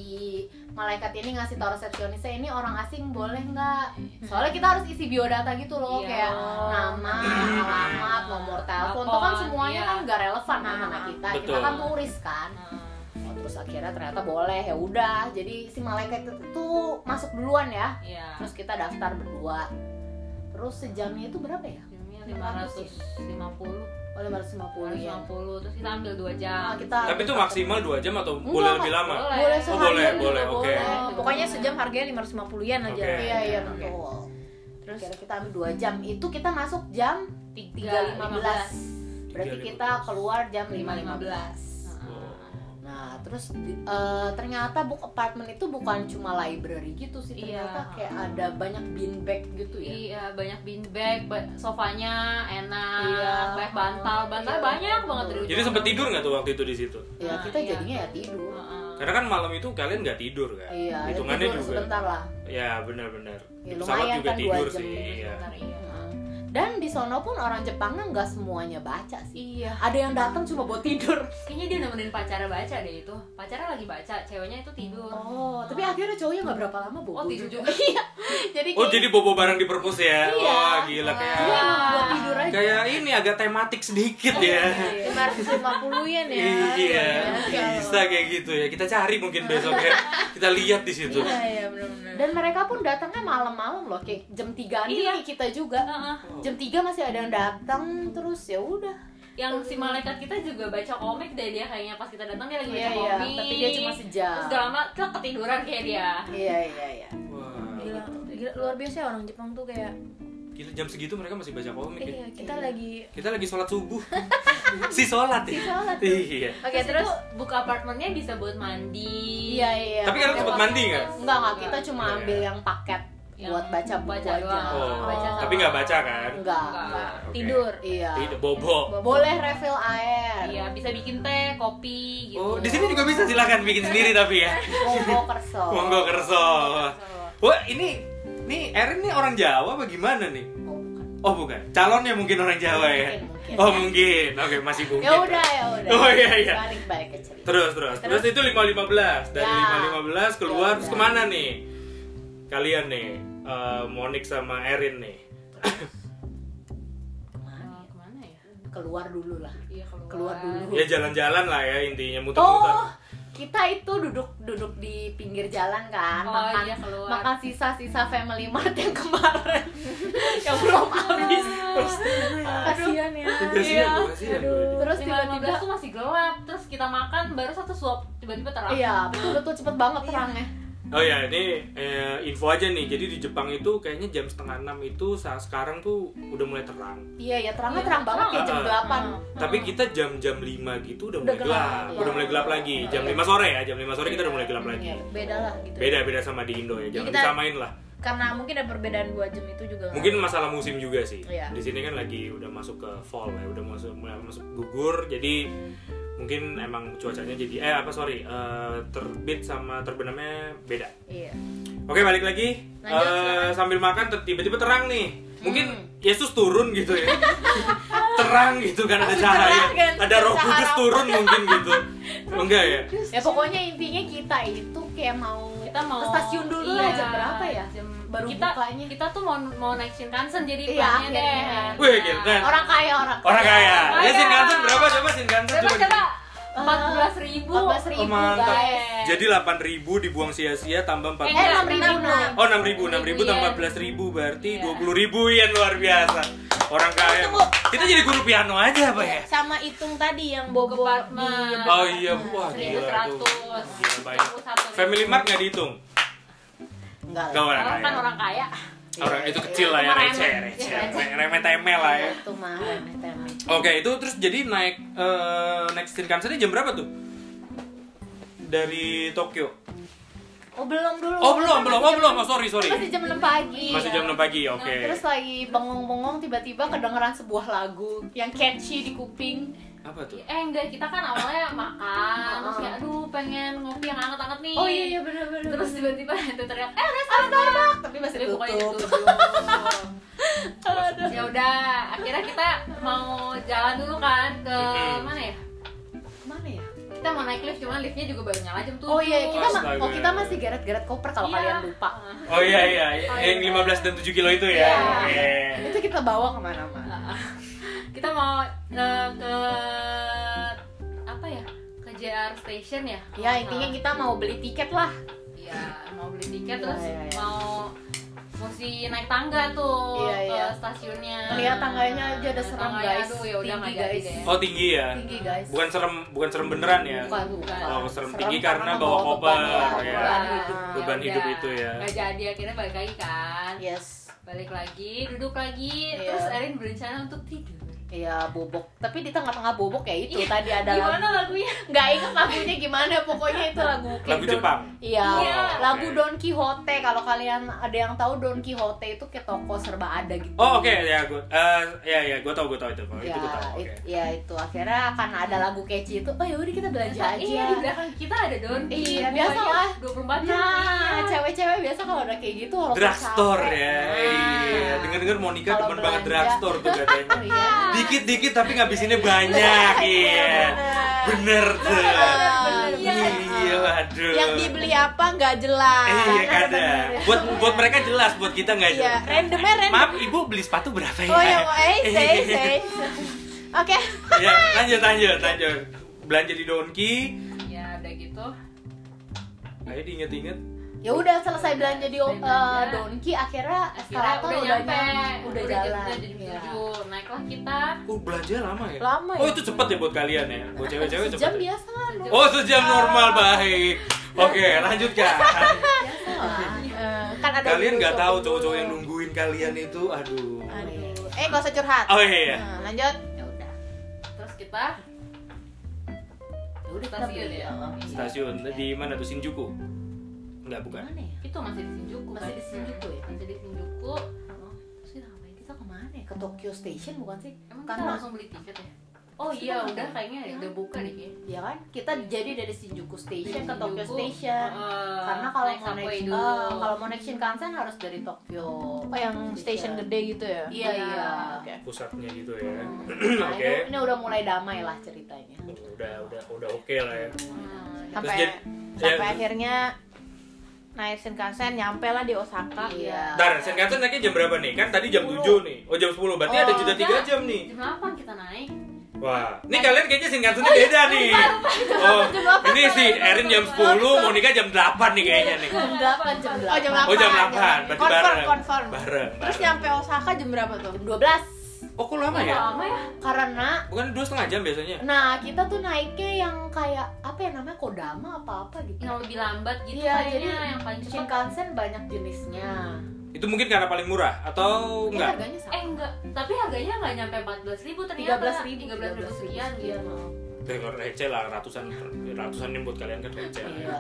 Speaker 4: malaikat ini ngasih tau resepsionisnya ini orang asing boleh nggak? Soalnya kita harus isi biodata gitu loh
Speaker 3: Hmm. Iya.
Speaker 4: kayak nama, alamat, nomor telepon, tuh kan
Speaker 3: Telepon,
Speaker 4: semuanya
Speaker 3: iya.
Speaker 4: kan nggak relevan sama anak kita. Kita
Speaker 2: Betul.
Speaker 4: kan turis kan.
Speaker 3: Nah,
Speaker 4: Oh, terus akhirnya ternyata boleh ya udah jadi si malaikat itu tuh masuk duluan ya
Speaker 3: Iya.
Speaker 4: terus kita daftar berdua terus sejamnya itu berapa ya
Speaker 3: Jamnya 550
Speaker 4: oh 550 ya
Speaker 3: 550 terus kita ambil 2
Speaker 4: nah,
Speaker 3: jam.
Speaker 4: kita
Speaker 2: Tapi itu maksimal 2 jam atau
Speaker 4: Enggak,
Speaker 2: boleh lebih lama?
Speaker 3: boleh.
Speaker 4: boleh
Speaker 3: Oh,
Speaker 4: seharian
Speaker 2: boleh,
Speaker 4: juga
Speaker 2: boleh, oke.
Speaker 4: boleh.
Speaker 1: Oh, pokoknya sejam harganya 550 yen aja
Speaker 2: Oke.
Speaker 4: iya iya
Speaker 2: Oke.
Speaker 4: betul
Speaker 1: terus
Speaker 4: Akhirnya kita ambil 2 jam itu kita masuk jam 3.15 berarti
Speaker 2: 3.15.
Speaker 4: kita keluar jam 5.15
Speaker 3: 5.15.
Speaker 4: Nah, terus di- eh, ternyata book apartment itu bukan cuma library gitu sih,
Speaker 3: Iya.
Speaker 4: ternyata kayak ada banyak bean bag gitu ya.
Speaker 3: Iya, banyak bean bag, ba- sofanya enak,
Speaker 4: Iya.
Speaker 3: banyak bantal, bantal
Speaker 4: Iya.
Speaker 3: banyak banget dari
Speaker 2: Jadi
Speaker 3: ujung
Speaker 2: sempet
Speaker 3: sampai
Speaker 2: tidur nggak tuh waktu itu di situ?
Speaker 4: Ya
Speaker 3: Nah,
Speaker 4: kita
Speaker 3: iya.
Speaker 4: jadinya ya tidur.
Speaker 3: Heeh.
Speaker 2: Karena kan malam itu kalian nggak tidur kan?
Speaker 4: Iya, ya
Speaker 2: Hitungannya
Speaker 4: tidur
Speaker 2: juga.
Speaker 4: sebentar lah.
Speaker 2: Ya benar-benar.
Speaker 4: Ya,
Speaker 2: Di pesawat
Speaker 4: lumayan
Speaker 2: juga
Speaker 4: kan dua
Speaker 2: tidur
Speaker 4: jam
Speaker 2: sih.
Speaker 4: gitu
Speaker 2: Iya.
Speaker 3: Sebentar, iya.
Speaker 4: Heeh. Dan di sono pun orang Jepangnya nggak semuanya baca sih.
Speaker 3: Iya.
Speaker 4: Ada yang datang cuma buat tidur.
Speaker 3: Kayaknya dia nemenin pacarnya baca deh itu. Pacarnya lagi baca, ceweknya itu tidur.
Speaker 4: Oh, tapi akhirnya cowoknya nggak berapa lama bobo.
Speaker 3: Oh, tidur juga.
Speaker 4: Iya. jadi
Speaker 2: Oh
Speaker 4: kayak-
Speaker 2: jadi bobo bareng di perpus ya?
Speaker 4: Iya.
Speaker 2: Wah gila
Speaker 4: Iya,
Speaker 2: kayak
Speaker 4: emang buat tidur aja.
Speaker 2: kayak ini agak tematik sedikit ya.
Speaker 1: 550 yen ya
Speaker 2: Iya,
Speaker 1: Iya.
Speaker 2: bisa kayak gitu ya. Kita cari mungkin besok ya. Kita lihat di situ.
Speaker 1: iya iya benar-benar
Speaker 4: Dan mereka pun datangnya malam-malam loh, kayak jam 3
Speaker 3: Iya.
Speaker 4: kayak kita juga.
Speaker 3: Heeh.
Speaker 4: Jam 3 masih ada yang datang terus ya udah.
Speaker 3: Yang si malaikat kita juga baca komik deh dia kayaknya pas kita datang dia lagi baca
Speaker 4: Iya, iya,
Speaker 3: komik.
Speaker 4: tapi dia cuma sejam.
Speaker 3: Terus gak lama tuh ketiduran kayak dia.
Speaker 4: Iya, iya, iya.
Speaker 1: Gila,
Speaker 2: Oh, Wah,
Speaker 1: gila, luar biasa ya orang Jepang tuh kayak
Speaker 2: gila jam segitu mereka masih baca komik ya.
Speaker 1: eh,
Speaker 4: Iya.
Speaker 1: kita lagi
Speaker 2: Kita lagi sholat subuh. si sholat ya.
Speaker 4: Si sholat.
Speaker 2: Iya.
Speaker 1: oke terus
Speaker 3: itu buka apartemennya bisa buat mandi.
Speaker 4: Iya, iya.
Speaker 2: Tapi kalian sempat mandi nggak?
Speaker 4: Enggak, enggak, kita cuma
Speaker 2: Iya.
Speaker 4: ambil yang paket
Speaker 3: Yang
Speaker 4: buat baca buku
Speaker 3: baca
Speaker 4: aja.
Speaker 3: doang.
Speaker 2: Oh,
Speaker 3: Baca sama-
Speaker 2: tapi nggak baca kan?
Speaker 4: Enggak.
Speaker 3: Enggak.
Speaker 2: Oke.
Speaker 1: tidur
Speaker 4: Iya.
Speaker 2: Tidak bobo.
Speaker 4: Boleh refill air.
Speaker 3: Iya, bisa bikin teh, kopi gitu.
Speaker 2: Oh, di sini juga bisa silakan bikin sendiri tapi ya.
Speaker 4: Monggo kerso.
Speaker 2: Monggo kerso. Wah, ini ini Erin nih orang Jawa apa gimana nih?
Speaker 4: Oh, bukan.
Speaker 2: Oh, bukan. Calonnya mungkin orang Jawa ya.
Speaker 4: Mungkin, mungkin.
Speaker 2: Oh, mungkin. Oke, masih mungkin.
Speaker 4: Ya udah, ya udah.
Speaker 2: Oh, iya, iya.
Speaker 4: Balik balik ke cerita.
Speaker 2: Terus, terus. Terus, itu 515. Dari
Speaker 4: Ya.
Speaker 2: 515 keluar
Speaker 4: Ya
Speaker 2: terus
Speaker 4: udah.
Speaker 2: kemana nih? Kalian nih, eh, Monik sama Erin nih.
Speaker 4: Kemana?
Speaker 3: Eh, kemana ya?
Speaker 4: Keluar dulu lah.
Speaker 3: Iya, keluar.
Speaker 4: Keluar dulu.
Speaker 2: Ya jalan-jalan lah ya intinya
Speaker 4: Iya. Oh,
Speaker 2: muter-muter.
Speaker 4: kita itu duduk duduk di pinggir jalan kan,
Speaker 3: Oh,
Speaker 4: makan
Speaker 3: iya, keluar.
Speaker 4: makan sisa-sisa Family Mart yang kemarin yang belum habis. Terus,
Speaker 1: kasihan ya
Speaker 2: Kasihan, kasihan.
Speaker 4: Iya. terus tiba-tiba
Speaker 3: tiba-tiba tuh masih gelap, terus kita makan baru satu suap tiba-tiba terang.
Speaker 4: Iya, betul betul cepet banget terangnya.
Speaker 2: Oh ya, ini eh, info aja nih. Jadi di Jepang itu kayaknya jam setengah enam itu saat sekarang tuh udah mulai terang.
Speaker 4: Iya, ya terangnya
Speaker 3: Iya,
Speaker 4: terang banget kayak jam
Speaker 2: terang.
Speaker 4: 8
Speaker 2: Tapi kita jam-jam 5 gitu udah,
Speaker 1: Ah. Udah gelap,
Speaker 2: mulai gelap,
Speaker 1: iya.
Speaker 2: udah mulai gelap lagi. Jam 5 sore ya, jam 5 sore kita udah mulai gelap lagi.
Speaker 4: Iya.
Speaker 1: beda lah gitu
Speaker 2: Beda-beda sama di Indo ya, jangan
Speaker 1: kita-
Speaker 2: disamain lah.
Speaker 1: karena mungkin ada perbedaan dua jam itu juga nggak-
Speaker 2: Mungkin masalah musim juga sih.
Speaker 1: Iya.
Speaker 2: Di sini kan lagi udah masuk ke fall ya, udah masuk mulai masuk gugur. Jadi mungkin emang cuacanya jadi eh apa sorry eh, terbit sama terbenamnya beda.
Speaker 1: iya
Speaker 2: Oke balik lagi
Speaker 1: Lanjut,
Speaker 2: Eh,
Speaker 1: silakan.
Speaker 2: sambil makan ter- tiba-tiba terang nih mungkin Yesus turun gitu ya terang gitu kan ada cahaya
Speaker 1: kan?
Speaker 2: ada Roh Kudus turun mungkin gitu Oh, enggak ya
Speaker 4: Ya pokoknya intinya kita itu kayak mau
Speaker 3: Kita mau Iya.
Speaker 4: ke stasiun dulu lah jam berapa ya?
Speaker 3: Jam
Speaker 4: baru
Speaker 3: kita
Speaker 4: bukanya.
Speaker 3: kita tuh mau mau naik Shinkansen jadi
Speaker 4: Iya,
Speaker 3: pelannya deh.
Speaker 4: akhirnya.
Speaker 2: Wih, gila. Nah,
Speaker 4: Orang kaya orang.
Speaker 2: Orang kaya.
Speaker 3: Orang
Speaker 2: Ya
Speaker 3: kaya.
Speaker 2: Shinkansen berapa coba Shinkansen
Speaker 3: Coba
Speaker 2: coba.
Speaker 3: coba empat belas ribu.
Speaker 4: Empat belas ribu
Speaker 2: Oh, mantap.
Speaker 4: guys.
Speaker 2: Jadi 8.000 dibuang sia-sia tambah 4
Speaker 3: Eh,
Speaker 4: Eh enam
Speaker 3: enam
Speaker 4: ribu
Speaker 3: enam. ya.
Speaker 2: Oh 6.000,
Speaker 3: Iya.
Speaker 2: 6.000 tambah 14.000 berarti 20.000 yen luar biasa. Orang kaya.
Speaker 1: Tunggu. Iya.
Speaker 2: Kita jadi guru piano aja apa ya?
Speaker 1: sama hitung tadi yang bobo di
Speaker 3: Ke apartemen.
Speaker 2: Oh iya, wah
Speaker 3: Seribu
Speaker 2: gila tuh.
Speaker 3: seratus.
Speaker 2: Gila baik. Family Mart nggak dihitung?
Speaker 4: Enggak.
Speaker 2: Gak orang
Speaker 3: Orang kan
Speaker 2: kaya.
Speaker 3: orang kaya.
Speaker 2: Orang itu kecil lah ya,
Speaker 3: Cuma
Speaker 2: receh,
Speaker 3: remeh.
Speaker 2: receh.
Speaker 3: Iya, receh.
Speaker 2: Remeh temeh lah ya.
Speaker 4: Itu mah remeh temeh.
Speaker 2: Oke, itu terus jadi naik eh, naik Shinkansen jam berapa tuh? Dari Tokyo.
Speaker 4: Oh belum dulu.
Speaker 2: Oh, belum, belum. Oh,
Speaker 4: Masih
Speaker 2: belum.
Speaker 4: jam-
Speaker 2: Oh, sorry, sorry.
Speaker 4: Masih jam 6 pagi.
Speaker 2: Masih jam 6 pagi. Oke.
Speaker 4: Terus lagi bengong-bengong tiba-tiba kedengeran sebuah lagu yang catchy di kuping.
Speaker 2: Apa tuh?
Speaker 3: Eh enggak, kita kan awalnya makan, terus
Speaker 4: Heeh.
Speaker 3: kayak aduh pengen ngopi yang anget-anget nih.
Speaker 4: Oh iya iya benar benar.
Speaker 3: Terus tiba-tiba itu teriak, eh udah
Speaker 4: Starbucks, tapi masih
Speaker 3: Tapi pokoknya
Speaker 4: tutup.
Speaker 3: ditutup. ya udah, akhirnya kita mau jalan dulu kan ke
Speaker 2: Mm-mm.
Speaker 3: mana ya?
Speaker 4: Mana ya?
Speaker 3: Kita mau naik lift, cuman liftnya juga baru nyala jam tujuh.
Speaker 4: Oh iya, kita ma-
Speaker 2: Astaga.
Speaker 4: oh kita masih geret-geret koper kalau
Speaker 3: Iya.
Speaker 4: kalian lupa.
Speaker 2: Oh iya iya, yang 15 dan 7 kilo itu ya. Oke.
Speaker 3: Iya.
Speaker 4: Itu kita bawa kemana-mana.
Speaker 3: Heeh. kita mau eh, ke apa ya? Ke JR Station ya?
Speaker 4: Ya intinya kita mau beli tiket lah.
Speaker 3: Iya, mau beli tiket terus
Speaker 4: Iya, iya, iya.
Speaker 3: mau mesti naik tangga tuh
Speaker 4: Iya, iya.
Speaker 3: ke stasiunnya.
Speaker 4: Lihat tangganya aja udah serem,
Speaker 3: Tangganya,
Speaker 4: guys.
Speaker 3: Aduh, ya udah
Speaker 4: Tinggi,
Speaker 3: nggak jadi
Speaker 4: guys.
Speaker 3: deh.
Speaker 2: Oh tinggi ya.
Speaker 4: Tinggi guys.
Speaker 2: Bukan serem, bukan serem beneran ya.
Speaker 4: Bukan, bukan.
Speaker 2: Oh, serem
Speaker 4: Serem
Speaker 2: tinggi karena
Speaker 4: karena
Speaker 2: bawa
Speaker 4: membawa
Speaker 2: koper.
Speaker 4: beban,
Speaker 2: ya.
Speaker 4: beban.
Speaker 2: Beban
Speaker 3: Ya
Speaker 2: hidup
Speaker 3: udah.
Speaker 2: itu ya.
Speaker 3: nggak jadi akhirnya balik lagi kan
Speaker 4: Yes.
Speaker 3: balik lagi duduk lagi
Speaker 4: Iya.
Speaker 3: terus Erin berencana untuk tidur
Speaker 4: Iya bobok. Tapi di tengah-tengah bobok ya itu
Speaker 3: Iya,
Speaker 4: tadi ada lagu.
Speaker 3: gimana lagunya
Speaker 4: Nggak inget lagunya gimana. Pokoknya itu lagu. kayak
Speaker 2: Lagu
Speaker 4: Don-
Speaker 2: Jepang.
Speaker 4: Iya.
Speaker 3: Iya.
Speaker 4: Lagu
Speaker 2: Oke.
Speaker 4: Don Quixote. Kalau kalian ada yang tahu Don Quixote itu kayak toko serba ada gitu.
Speaker 2: Oh oke ya gue, eh ya ya gue tau gue tau itu, Kalau
Speaker 4: Ya,
Speaker 2: itu gue tau. Oke.
Speaker 4: it- ya itu akhirnya akan ada lagu catchy itu. Oh yaudah kita belanja aja.
Speaker 3: iya di belakang kita ada Don
Speaker 4: Iya, biasa lah.
Speaker 3: 24 jam iya.
Speaker 4: Nah, cewek-cewek biasa kalau udah kayak gitu walaupun
Speaker 2: Drugstore
Speaker 4: capek,
Speaker 2: ya.
Speaker 1: Ah,
Speaker 4: nah.
Speaker 2: Iya. Dengar dengar Monica
Speaker 4: Kalau
Speaker 2: demen banget
Speaker 4: belanja.
Speaker 2: drugstore tuh katanya.
Speaker 4: Oh, iya.
Speaker 2: Dikit dikit tapi ngabisinnya banyak. Iya. Bener tuh.
Speaker 1: Iya.
Speaker 2: Iya waduh.
Speaker 1: yang dibeli apa nggak jelas
Speaker 2: Iya kadang. Buat buat mereka jelas, buat kita nggak
Speaker 1: Iya,
Speaker 2: jelas.
Speaker 1: randomnya random
Speaker 2: Maaf ibu beli sepatu berapa ya?
Speaker 1: oh ya eh say say oke
Speaker 2: Iya, lanjut lanjut lanjut. Belanja di Donki.
Speaker 3: ya udah gitu
Speaker 2: Ayo diinget-inget.
Speaker 4: Ya udah selesai belanja di
Speaker 3: Selesai belanja.
Speaker 4: eh, Donki akhirnya
Speaker 3: akhirnya
Speaker 4: eskalator
Speaker 3: udah
Speaker 4: udah,
Speaker 3: nyampe
Speaker 4: nyam- udah jalan.
Speaker 3: jam
Speaker 4: Iya.
Speaker 3: 7 naiklah kita
Speaker 2: Oh belanja lama ya?
Speaker 1: Lama ya.
Speaker 2: Oh itu cepet ya buat kalian ya? Buat cewek-cewek cepet.
Speaker 4: Sejam
Speaker 2: ya?
Speaker 4: biasa kan, lah, Nur.
Speaker 2: Oh sejam normal baik. Oke lanjutkan.
Speaker 4: biasa
Speaker 2: Iya,
Speaker 4: lah.
Speaker 1: Eh, kan ada
Speaker 2: kalian
Speaker 1: dulu
Speaker 2: nggak
Speaker 1: shopping
Speaker 2: tahu
Speaker 1: dulu.
Speaker 2: cowok-cowok yang nungguin kalian itu, aduh.
Speaker 1: aduh eh nggak usah curhat
Speaker 2: Oh iya.
Speaker 1: Nah, lanjut
Speaker 4: Ya udah.
Speaker 3: terus kita
Speaker 4: Ya udah
Speaker 3: Stasiun
Speaker 4: beli.
Speaker 3: ya?
Speaker 4: Oh, iya.
Speaker 2: Stasiun di mana tuh Shinjuku? Enggak bukan.
Speaker 4: Mana ya?
Speaker 3: itu masih di Shinjuku
Speaker 4: Masih di Shinjuku ya?
Speaker 3: masih di Shinjuku
Speaker 4: Oh,
Speaker 3: terus kita ngapain
Speaker 4: Kita kemana ya? Ke Tokyo Station bukan sih?
Speaker 3: emang
Speaker 4: Kan
Speaker 3: kita
Speaker 4: mas-
Speaker 3: langsung beli tiket ya oh iya
Speaker 4: Kita-
Speaker 3: udah kayaknya
Speaker 4: Iya.
Speaker 3: udah buka deh kayaknya
Speaker 4: Ya kan? Kita jadi dari Shinjuku Station ke Tokyo
Speaker 3: Shinjuku,
Speaker 4: Station.
Speaker 3: eh,
Speaker 4: Karena kalau
Speaker 3: naik
Speaker 4: mau naik
Speaker 3: subway dulu.
Speaker 4: eh, kalau mau naik Shinkansen harus dari Tokyo.
Speaker 1: oh yang station gede gitu ya
Speaker 4: Iya iya.
Speaker 1: oke
Speaker 2: Pusatnya gitu ya.
Speaker 4: Nah,
Speaker 2: Oke.
Speaker 4: ini, ini udah mulai damai lah ceritanya.
Speaker 2: Udah udah udah oke lah ya.
Speaker 3: Nah,
Speaker 1: sampai
Speaker 2: jadi-
Speaker 1: sampai
Speaker 2: ya.
Speaker 1: akhirnya naik Shinkansen nyampe lah di Osaka
Speaker 4: Iya.
Speaker 2: Bentar, Shinkansen naiknya jam berapa nih? Kan tadi jam 7 nih. Oh, jam 10. Berarti
Speaker 1: Oh,
Speaker 2: ada jeda 3
Speaker 3: enggak.
Speaker 2: jam nih.
Speaker 3: jam 8 kita naik
Speaker 2: Wah, ini kalian kayaknya Shinkansennya beda nih. Oh, ini si Erin jam 10, Monica jam 8 nih kayaknya nih.
Speaker 4: Jam 8 jam 8.
Speaker 1: Oh jam 8
Speaker 2: Oh, jam 8. Berarti
Speaker 1: Confirm,
Speaker 2: bareng.
Speaker 1: confirm.
Speaker 2: Bareng.
Speaker 1: Terus
Speaker 2: bareng.
Speaker 1: nyampe Osaka jam berapa tuh?
Speaker 4: Jam 12.
Speaker 2: Oh, kok lama ya?
Speaker 3: lama ya
Speaker 4: Karena
Speaker 2: Bukan 2,5 jam biasanya.
Speaker 4: nah kita tuh naiknya yang kayak apa ya namanya kodama apa apa gitu.
Speaker 3: yang lebih lambat gitu
Speaker 4: Iya,
Speaker 3: kayaknya
Speaker 4: jadi
Speaker 3: yang paling cepat
Speaker 4: Shinkansen banyak jenisnya.
Speaker 2: Itu mungkin karena paling murah atau
Speaker 4: Ini
Speaker 2: Oh, enggak?
Speaker 4: harganya
Speaker 3: eh
Speaker 4: sama.
Speaker 3: enggak tapi harganya nggak nyampe 14.000 ribu ternyata
Speaker 4: 13.000,
Speaker 3: 13.000 sekian gitu
Speaker 2: Ya, kalau receh lah ratusan ratusan ini buat kalian kan receh. lah ya.
Speaker 4: Iya.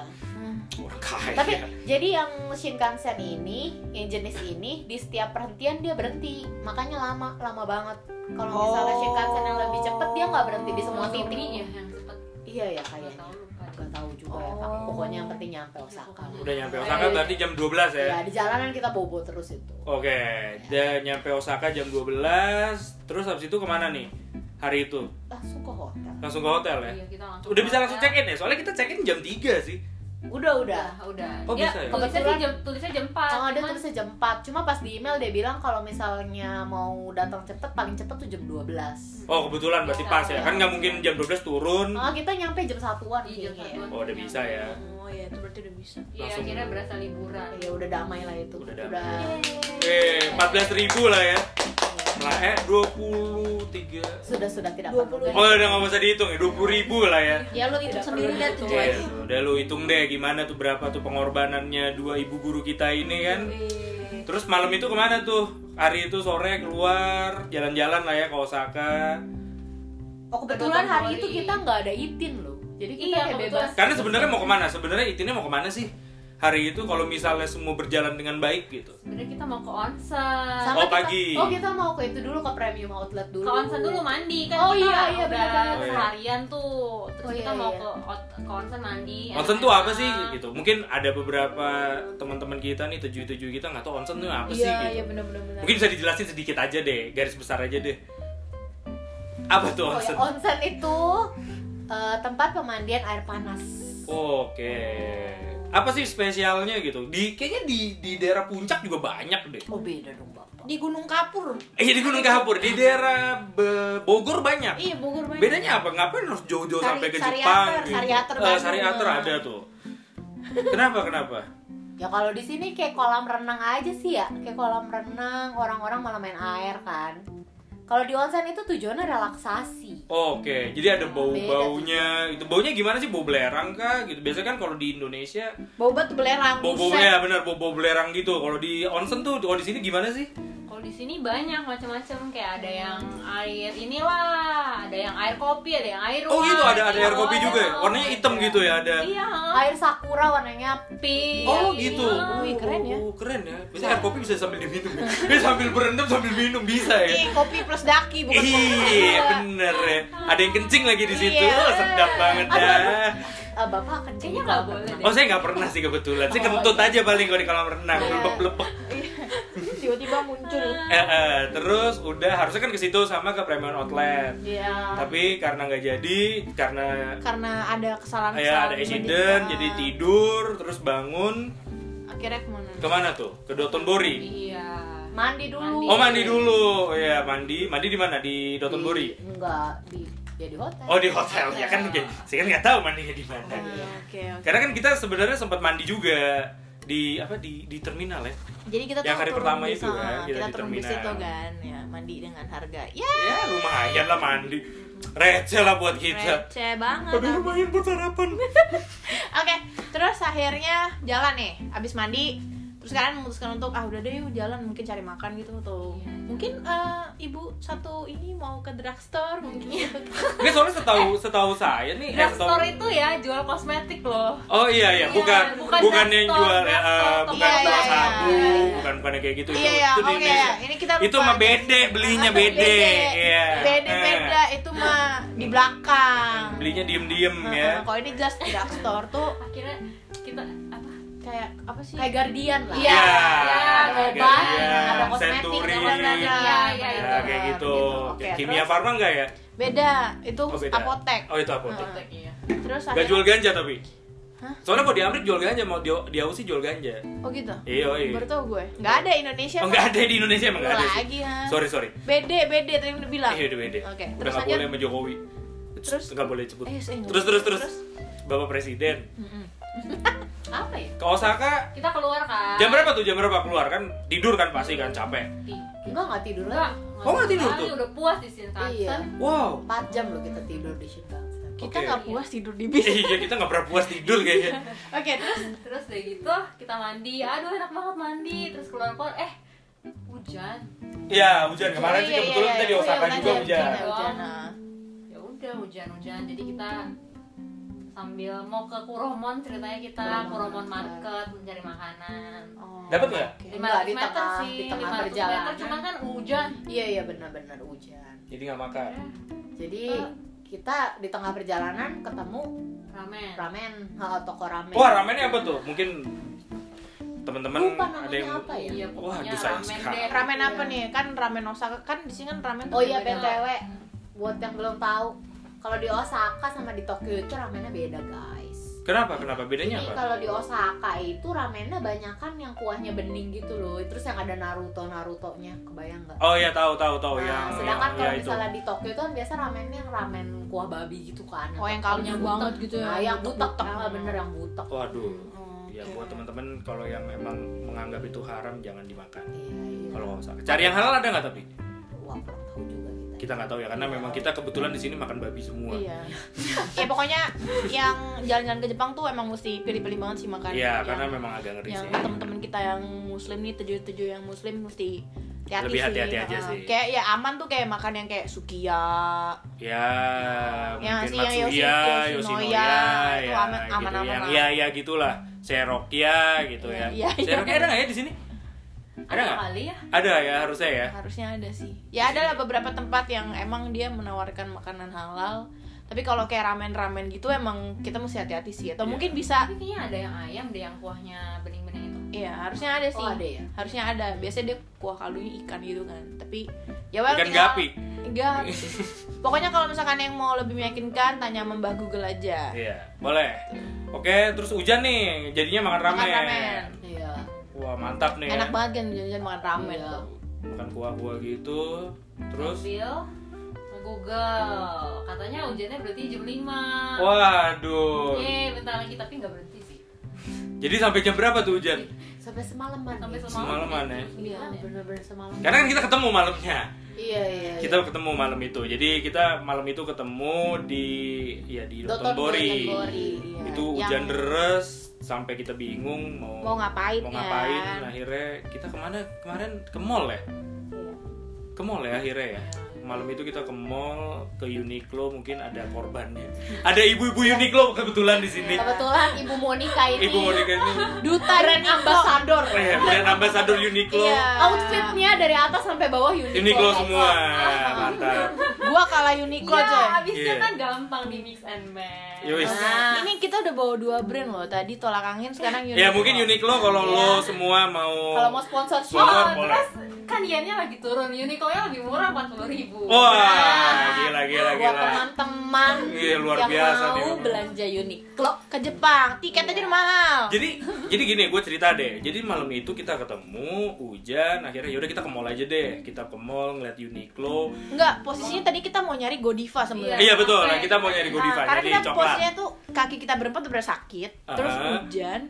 Speaker 2: Orang kaya.
Speaker 4: Tapi jadi yang Shinkansen ini, yang jenis ini di setiap perhentian dia berhenti. Makanya lama, lama banget. Kalau misalnya
Speaker 1: Oh.
Speaker 4: Shinkansen yang lebih cepet dia nggak berhenti di semua
Speaker 3: Yang
Speaker 4: titik.
Speaker 3: Sumi ya yang cepat
Speaker 4: Iya ya
Speaker 3: nggak
Speaker 4: kayaknya.
Speaker 3: tahu lupa
Speaker 4: Gak tahu juga ya, Kak.
Speaker 1: Oh.
Speaker 4: Pokoknya yang penting nyampe Osaka.
Speaker 2: Udah nyampe Osaka berarti jam 12 ya.
Speaker 4: Ya, di jalanan kita bobo terus itu.
Speaker 2: Oke, dan nyampe Osaka jam 12, terus habis itu kemana nih? Hari itu?
Speaker 4: Langsung ke hotel.
Speaker 2: Langsung ke hotel ya?
Speaker 3: iya kita langsung
Speaker 2: Udah bisa langsung check-in ya? Soalnya kita check-in jam 3 sih
Speaker 4: Udah, udah.
Speaker 3: udah udah
Speaker 2: Oh,
Speaker 3: dia
Speaker 2: bisa ya?
Speaker 3: tulisnya sih
Speaker 4: Kebetulan-
Speaker 3: jam tulisnya jam 4
Speaker 4: Oh, ada
Speaker 3: cuman-
Speaker 4: tulisnya jam 4. Cuma pas di email dia bilang kalau misalnya mau datang cepet paling cepet tuh jam 12.
Speaker 2: Oh kebetulan berarti pas ya kan nggak mungkin jam 12 turun
Speaker 4: Oh, kita nyampe jam 1-an
Speaker 3: Iya, jam
Speaker 4: kayaknya.
Speaker 3: 1-an.
Speaker 2: oh udah bisa ya
Speaker 1: Oh ya, itu berarti udah bisa.
Speaker 3: iya
Speaker 2: Langsung-
Speaker 3: akhirnya berasa liburan
Speaker 4: Ya udah damai lah itu.
Speaker 2: Udah
Speaker 4: Udah.
Speaker 2: damai. eh 14.000 lah ya lah eh 23
Speaker 4: Sudah sudah tidak
Speaker 1: 20.
Speaker 4: perlu.
Speaker 2: oh udah nggak usah dihitung ya 20.000 lah ya
Speaker 1: Ya lo hitung
Speaker 3: Tidak
Speaker 1: sendiri
Speaker 3: perlu
Speaker 1: lihat
Speaker 3: dihitung
Speaker 1: tuh eh.
Speaker 2: Iya,
Speaker 1: guys.
Speaker 2: tuh. udah lu hitung deh gimana tuh berapa tuh pengorbanannya dua ibu guru kita ini kan
Speaker 1: Eh,
Speaker 2: Terus malam itu kemana tuh? Hari itu sore keluar jalan-jalan lah ya ke Osaka.
Speaker 4: Oh, kebetulan
Speaker 3: Kebetulan
Speaker 4: hari itu
Speaker 3: Bali.
Speaker 4: kita nggak ada itin loh. Jadi kita
Speaker 3: Iya,
Speaker 4: kayak
Speaker 3: kebetulan.
Speaker 4: bebas.
Speaker 2: Karena sebenarnya mau kemana? Sebenarnya itinnya mau kemana sih? Hari itu kalau misalnya semua berjalan dengan baik gitu.
Speaker 3: sebenarnya kita mau ke onsen
Speaker 2: Sama- Oh,
Speaker 4: kita-
Speaker 2: pagi.
Speaker 4: Oh, kita mau ke itu dulu ke premium outlet dulu.
Speaker 3: ke onsen dulu mandi kan
Speaker 4: Oh,
Speaker 3: kita
Speaker 4: iya, iya,
Speaker 3: udah
Speaker 4: benar-benar.
Speaker 2: Oh,
Speaker 3: seharian tuh terus
Speaker 4: Oh, iya,
Speaker 3: kita mau
Speaker 4: iya.
Speaker 3: ke ot- ke onsen mandi ya kan?
Speaker 2: Onsen
Speaker 3: enak-enak.
Speaker 2: tuh apa sih
Speaker 3: ah.
Speaker 2: gitu? Mungkin ada beberapa teman-teman kita nih tujuh-tujuh kita nggak tahu onsen tuh apa sih
Speaker 1: Iya,
Speaker 2: gitu.
Speaker 1: iya benar-benar benar.
Speaker 2: Mungkin bisa dijelasin sedikit aja deh, garis besar aja deh. Apa tuh
Speaker 4: Oh, ya,
Speaker 2: onsen?
Speaker 4: onsen itu eh, tempat pemandian air panas.
Speaker 2: Oke. Apa sih spesialnya gitu? Di kayaknya di di daerah puncak juga banyak deh.
Speaker 4: Oh, beda dong, Bapak.
Speaker 1: Di Gunung Kapur.
Speaker 2: Eh di Gunung Kapur, di daerah Be- Bogor banyak.
Speaker 1: Iya, Bogor banyak.
Speaker 2: Bedanya apa? Ngapain harus jauh-jauh
Speaker 4: Sari-
Speaker 2: sampai ke
Speaker 4: Sariater,
Speaker 2: Jepang?
Speaker 4: Sariater
Speaker 2: Eh,
Speaker 4: Bandung.
Speaker 2: Sariater ada tuh. Kenapa kenapa?
Speaker 4: Ya kalau di sini kayak kolam renang aja sih ya, kayak kolam renang orang-orang malah main air kan. Kalau di onsen itu tujuannya relaksasi.
Speaker 2: Oke, jadi ada bau-baunya.
Speaker 4: Beda.
Speaker 2: Itu baunya gimana sih? Bau belerang kah? Gitu. Biasanya kan kalau di Indonesia
Speaker 1: Bau batu belerang.
Speaker 2: bau-bau
Speaker 1: buset.
Speaker 2: ya benar bau-bau belerang gitu. Kalau di onsen tuh, kalau di sini gimana sih?
Speaker 3: Kalau di sini banyak macam-macam kayak ada yang air inilah, ada yang air kopi, ada yang air
Speaker 2: Oh gitu,
Speaker 3: wine,
Speaker 2: ada ada air
Speaker 3: iya,
Speaker 2: kopi juga ya.
Speaker 3: ada.
Speaker 2: Warnanya hitam gitu ya, ada.
Speaker 3: Iya.
Speaker 4: Air sakura warnanya
Speaker 3: Pink.
Speaker 2: Oh gitu.
Speaker 3: Iya.
Speaker 1: Wih, keren ya.
Speaker 2: Oh, keren ya. Biasanya air kopi bisa sambil diminum. ya. Bisa sambil berendam sambil minum bisa ya.
Speaker 1: Iya, kopi plus daki bukan
Speaker 2: Iya bener ya. Ada yang kencing lagi di situ.
Speaker 1: Iya.
Speaker 2: Oh, sedap banget ya.
Speaker 4: eh, bapak
Speaker 3: Kayaknya
Speaker 4: kencing di
Speaker 3: nggak
Speaker 4: kolam
Speaker 3: boleh
Speaker 4: renang.
Speaker 3: deh.
Speaker 2: Oh saya nggak pernah sih kebetulan. Saya kentut aja paling kalau di kolam renang.
Speaker 4: Iya.
Speaker 2: Lepek lepek.
Speaker 1: tiba-tiba muncul.
Speaker 2: Eh, eh, terus udah harusnya kan ke situ sama ke Premium Outlet.
Speaker 1: Iya.
Speaker 2: Tapi karena nggak jadi, karena
Speaker 1: Karena ada kesalahan
Speaker 2: ya ada accident,
Speaker 1: kan.
Speaker 2: jadi tidur, terus bangun.
Speaker 1: Akhirnya kemana?
Speaker 2: Kemana tuh? Ke Dotonbori.
Speaker 3: Iya.
Speaker 4: Mandi dulu.
Speaker 1: Iya.
Speaker 2: Oh mandi dulu, ya mandi. Mandi di mana? Di
Speaker 4: Di-
Speaker 2: Dotonbori.
Speaker 4: Enggak, di ya di hotel.
Speaker 2: Oh di hotel ya kan? oke. Saya kan nggak tahu mandinya di mana.
Speaker 1: Ah, Oke, oke.
Speaker 2: Karena kan kita sebenarnya sempat mandi juga di apa di di terminal ya.
Speaker 1: Jadi kita
Speaker 2: Yang
Speaker 1: tuh
Speaker 2: hari
Speaker 1: turun
Speaker 2: pertama
Speaker 1: di
Speaker 2: itu
Speaker 1: sana,
Speaker 2: kan, kita
Speaker 1: kita turun
Speaker 2: di
Speaker 1: di
Speaker 2: terminal.
Speaker 1: situ kan, ya mandi dengan harga. Ya,
Speaker 2: Ya lumayan lah mandi. Receh lah buat kita.
Speaker 1: receh banget.
Speaker 2: Aduh lumayan buat sarapan.
Speaker 1: Oke, terus akhirnya jalan nih, abis mandi. Terus kalian memutuskan untuk ah udah deh yuk jalan mungkin cari makan gitu atau
Speaker 3: Iya.
Speaker 1: mungkin eh, ibu satu ini mau ke drugstore
Speaker 2: Iya.
Speaker 1: mungkin.
Speaker 2: Nggak soalnya setahu setahu saya nih. eh, setahu-
Speaker 3: Drugstore itu ya jual kosmetik loh.
Speaker 2: Oh iya iya,
Speaker 3: Iya,
Speaker 2: bukan bukan,
Speaker 3: bukan
Speaker 2: yang
Speaker 3: drugstore,
Speaker 2: jual ya, eh,
Speaker 3: drugstore,
Speaker 2: bukan
Speaker 1: toko. Iya,
Speaker 2: jual
Speaker 1: iya,
Speaker 2: sabu,
Speaker 1: iya, iya.
Speaker 2: bukan bukan yang kayak gitu itu.
Speaker 1: Iya ya,
Speaker 2: itu di
Speaker 1: oke
Speaker 2: Indonesia.
Speaker 1: ya. Ini kita
Speaker 2: Itu
Speaker 1: lupa.
Speaker 2: mah bede, belinya
Speaker 1: Ah,
Speaker 2: bede. Iya.
Speaker 1: Bede
Speaker 2: Eh,
Speaker 1: beda itu mah di belakang.
Speaker 2: Belinya diem-diem
Speaker 1: Heeh,
Speaker 2: ya.
Speaker 1: Kalau ini jelas drugstore tuh
Speaker 3: Akhirnya kita apa?
Speaker 1: kayak apa sih?
Speaker 4: Kayak guardian lah.
Speaker 1: Iya.
Speaker 2: ada
Speaker 4: obat, ada
Speaker 2: Guardian,
Speaker 4: kosmetik,
Speaker 2: Century.
Speaker 4: ada
Speaker 1: Iya,
Speaker 3: Iya, iya,
Speaker 2: Ya,
Speaker 3: itu.
Speaker 2: kayak gitu.
Speaker 1: Oke,
Speaker 2: Kimia
Speaker 1: terus-
Speaker 2: Farma enggak ya?
Speaker 1: Beda, itu
Speaker 2: Oh, beda.
Speaker 1: apotek.
Speaker 2: Oh, itu apotek.
Speaker 1: Heeh.
Speaker 3: Iya.
Speaker 1: Terus
Speaker 2: Gak
Speaker 1: akhirnya-
Speaker 2: jual ganja tapi.
Speaker 1: Hah?
Speaker 2: Soalnya kalau di Amerika jual ganja, mau di, di Aussie jual ganja.
Speaker 1: Oh gitu.
Speaker 2: Iya, iya.
Speaker 1: Baru tau gue. Nggak ada Indonesia.
Speaker 2: Oh,
Speaker 1: Pak.
Speaker 2: nggak ada di Indonesia emang nggak ada sih.
Speaker 1: lagi ha.
Speaker 2: Sorry, sorry.
Speaker 1: Bede, bede tadi udah bilang.
Speaker 2: Iya, udah beda.
Speaker 1: Oke,
Speaker 2: Udah
Speaker 1: terus
Speaker 2: nggak
Speaker 1: aja.
Speaker 2: boleh sama Jokowi.
Speaker 1: Terus?
Speaker 2: nggak boleh sebut.
Speaker 1: Eh, saya nggak
Speaker 2: Terus, terus,
Speaker 1: boleh.
Speaker 2: terus,
Speaker 1: Terus?
Speaker 2: Bapak Presiden.
Speaker 1: Mm-mm.
Speaker 3: Apa ya?
Speaker 2: Ke Osaka
Speaker 3: Kita keluar kan.
Speaker 2: jam berapa tuh? Jam berapa keluar kan? Tidur kan pasti kan capek.
Speaker 4: Enggak enggak tidur
Speaker 3: Enggak.
Speaker 4: lagi.
Speaker 2: Oh, nggak tidur
Speaker 3: sekali,
Speaker 2: tuh?
Speaker 3: Udah puas di kan? Shinkansen.
Speaker 4: Iya.
Speaker 2: Wow.
Speaker 4: 4 jam loh kita tidur di Shinkansen.
Speaker 1: Kita
Speaker 2: Oke.
Speaker 1: nggak puas tidur di bis. Oke,
Speaker 2: Iya, kita nggak pernah puas tidur kayaknya.
Speaker 1: terus
Speaker 3: Terus udah gitu kita mandi. Aduh enak banget mandi. Terus keluar-keluar eh hujan.
Speaker 2: Ya, hujan kemarin
Speaker 1: Iya,
Speaker 2: sih
Speaker 1: iya,
Speaker 2: kebetulan
Speaker 1: iya,
Speaker 2: kita di
Speaker 1: iya.
Speaker 2: Osaka
Speaker 1: Oh, iya,
Speaker 2: juga
Speaker 1: benar,
Speaker 2: hujan.
Speaker 1: benar, hujan, nah.
Speaker 3: ya udah hujan-hujan jadi kita sambil mau ke Kuromon ceritanya kita
Speaker 4: Kuromon
Speaker 3: Kuromon
Speaker 4: Market.
Speaker 3: Market mencari makanan
Speaker 4: Oh,
Speaker 2: Dapat nggak?
Speaker 4: oke. Enggak,
Speaker 3: 500
Speaker 4: di
Speaker 3: meter
Speaker 4: tengah,
Speaker 3: sih
Speaker 4: di tengah
Speaker 3: 500 meter
Speaker 4: perjalanan.
Speaker 3: cuman kan hujan
Speaker 4: Iya, iya benar-benar hujan.
Speaker 2: Jadi nggak makan.
Speaker 1: Iya.
Speaker 4: Jadi
Speaker 1: Eh.
Speaker 4: kita di tengah perjalanan ketemu
Speaker 3: ramen
Speaker 4: ramen, ha, toko ramen.
Speaker 2: Wah, ramennya apa tuh? Mungkin teman-teman
Speaker 4: Lupa
Speaker 2: ada
Speaker 4: namanya
Speaker 2: yang
Speaker 4: apa ya?
Speaker 3: iya
Speaker 2: Wah,
Speaker 3: pokoknya
Speaker 2: aduh, sayang
Speaker 3: ramen
Speaker 2: sekali.
Speaker 3: deh Iya.
Speaker 1: ramen apa nih? Kan ramen Osaka kan di sini kan ramen tuh
Speaker 4: Oh iya
Speaker 1: beda-beda.
Speaker 4: BTW, buat yang belum tahu, kalau di Osaka sama di Tokyo itu ramennya beda, guys.
Speaker 2: Kenapa? Kenapa? Bedanya
Speaker 4: Ini
Speaker 2: apa?
Speaker 4: kalau di Osaka itu ramennya banyak kan yang kuahnya bening gitu loh. Terus yang ada Naruto Narutonya, kebayang nggak?
Speaker 2: Oh ya tahu tahu tahu
Speaker 4: Nah,
Speaker 2: yang yang-
Speaker 4: sedangkan kalau
Speaker 2: ya, itu.
Speaker 4: misalnya di Tokyo itu kan biasa ramennya yang ramen kuah babi gitu kan.
Speaker 1: Oh, yang
Speaker 4: kaldunya
Speaker 1: kaldu
Speaker 4: butek.
Speaker 1: banget gitu ya,
Speaker 4: Nah, yang butek,
Speaker 1: butek-butek.
Speaker 4: Ah, bener yang butek.
Speaker 2: Waduh.
Speaker 1: Hmm,
Speaker 2: Ya
Speaker 1: oke.
Speaker 2: buat teman-teman kalau yang emang menganggap itu haram jangan dimakan.
Speaker 4: Iya, iya.
Speaker 2: Kalau nggak usah. Cari yang halal ada nggak tapi?
Speaker 4: Wah, kurang tahu juga kita.
Speaker 2: Kita nggak tahu ya karena memang kita kebetulan di sini makan babi semua.
Speaker 1: Iya. ya pokoknya yang jalan-jalan ke Jepang tuh emang mesti pilih-pilih banget sih makan.
Speaker 2: Iya,
Speaker 1: Yang-
Speaker 2: karena memang agak ngeri
Speaker 1: yang
Speaker 2: sih.
Speaker 1: teman-teman kita yang muslim nih tujuh-tujuh yang muslim mesti hati-hati
Speaker 2: Lebih
Speaker 1: sih.
Speaker 2: hati-hati aja
Speaker 1: Heeh.
Speaker 2: sih.
Speaker 1: Kayak ya aman tuh kayak makan yang kayak sukiya,
Speaker 2: Ya,
Speaker 1: Yang
Speaker 2: mungkin
Speaker 1: sih, yang
Speaker 2: Matsuya,
Speaker 1: Yoshi-
Speaker 2: Yoshinoya,
Speaker 1: Yoshinoya, itu
Speaker 2: ya,
Speaker 1: aman-
Speaker 2: gitu,
Speaker 1: aman-aman
Speaker 2: yang
Speaker 1: lah.
Speaker 2: ya ya gitulah, Serokia gitu ya.
Speaker 1: Iya, iya.
Speaker 2: Serokia ada nggak ya di sini? Ada nggak?
Speaker 3: kali ya
Speaker 2: Ada ya harusnya ya.
Speaker 1: harusnya ada sih. Ya ada lah beberapa tempat yang emang dia menawarkan makanan halal. Tapi kalau kayak ramen-ramen gitu emang kita mesti hati-hati sih. Atau
Speaker 2: Iya.
Speaker 1: mungkin bisa
Speaker 3: tapi kayaknya ada yang ayam deh yang kuahnya bening-bening itu
Speaker 1: Iya, harusnya ada sih.
Speaker 4: Oh, ada ya?
Speaker 1: Harusnya ada. Biasanya dia kuah kaldunya ikan gitu kan. Tapi ya well,
Speaker 2: Ikan
Speaker 1: tinggal-
Speaker 2: gapi.
Speaker 1: Gapi. Pokoknya kalau misalkan yang mau lebih meyakinkan tanya Mbah Google aja.
Speaker 2: Iya, boleh. Oke, terus hujan nih, jadinya makan ramen.
Speaker 1: Makan ramen.
Speaker 4: Iya.
Speaker 2: Wah, mantap nih.
Speaker 1: Enak
Speaker 2: ya.
Speaker 1: banget kan jajan makan ramen.
Speaker 4: Iya.
Speaker 2: Makan kuah-kuah gitu. Terus
Speaker 1: Iya.
Speaker 3: Ambil, Google katanya hujannya berarti jam 5
Speaker 2: waduh.
Speaker 1: Iya.
Speaker 3: Yeay, bentar lagi tapi nggak berhenti sih
Speaker 2: Jadi sampai jam berapa tuh hujan?
Speaker 4: Sampai semalaman.
Speaker 3: sampai
Speaker 4: ya?
Speaker 3: semalam
Speaker 2: Semalaman ya.
Speaker 4: Iya,
Speaker 3: Semalaman ya.
Speaker 4: bener-bener semalaman.
Speaker 2: Karena kan kita ketemu malamnya.
Speaker 4: Iya, iya. iya.
Speaker 2: Kita ketemu malam itu. Jadi kita malam itu ketemu di ya di Dotonbori.
Speaker 4: Dotonbori,
Speaker 1: iya.
Speaker 2: Itu hujan
Speaker 1: Yang-
Speaker 2: deres sampai kita bingung mau
Speaker 1: Mau ngapain
Speaker 2: mau
Speaker 1: kan?
Speaker 2: ngapain. Akhirnya kita kemana kemarin ke mall ya?
Speaker 1: Iya.
Speaker 2: Ke mall ya akhirnya ya. Malam itu kita ke mall, ke Uniqlo mungkin ada korbannya. Ada ibu-ibu Uniqlo kebetulan di sini.
Speaker 4: Kebetulan Ibu Monica ini
Speaker 2: Ibu Monica ini
Speaker 1: Duta
Speaker 4: brand ambassador.
Speaker 2: eh, brand ambassador Uniqlo.
Speaker 1: Iya.
Speaker 4: Outfitnya dari atas sampai bawah Uniqlo.
Speaker 2: Uniqlo
Speaker 4: guys.
Speaker 2: semua. Mantap.
Speaker 1: Gua kalah Uniqlo
Speaker 3: Iya,
Speaker 1: aja.
Speaker 3: abisnya
Speaker 2: Iya.
Speaker 3: kan gampang di mix and match
Speaker 2: Yowis.
Speaker 4: Nah,
Speaker 1: Ini kita udah bawa dua brand loh. Tadi tolak angin sekarang Uniqlo.
Speaker 2: Ya mungkin Uniqlo kalau lo
Speaker 1: Iya.
Speaker 2: semua mau
Speaker 4: kalau mau sponsorship
Speaker 2: Sponsorship.
Speaker 3: Oh,
Speaker 2: Boleh.
Speaker 3: terus kan yennya lagi turun, Uniqlo-nya lebih murah 40 ribu
Speaker 2: Wah, gila gila
Speaker 4: buat
Speaker 2: gila.
Speaker 4: teman-teman
Speaker 2: Iya, luar
Speaker 4: yang
Speaker 2: biasa
Speaker 4: mau
Speaker 2: nih.
Speaker 4: belanja Uniqlo.
Speaker 1: ke Jepang, tiket aja udah mahal.
Speaker 2: Jadi jadi gini gue cerita deh. Jadi malam itu kita ketemu hujan, akhirnya yaudah kita ke mall aja deh. Kita ke mall ngeliat Uniqlo.
Speaker 1: Enggak, posisinya tadi kita mau nyari Godiva sebenarnya.
Speaker 2: Iya betul,
Speaker 3: Sampai-
Speaker 2: kita mau nyari Godiva,
Speaker 1: Nah, karena
Speaker 2: nyari
Speaker 1: kita
Speaker 2: coklat.
Speaker 1: posisinya tuh kaki kita berempat tuh berasa sakit, terus
Speaker 2: Aha.
Speaker 1: hujan.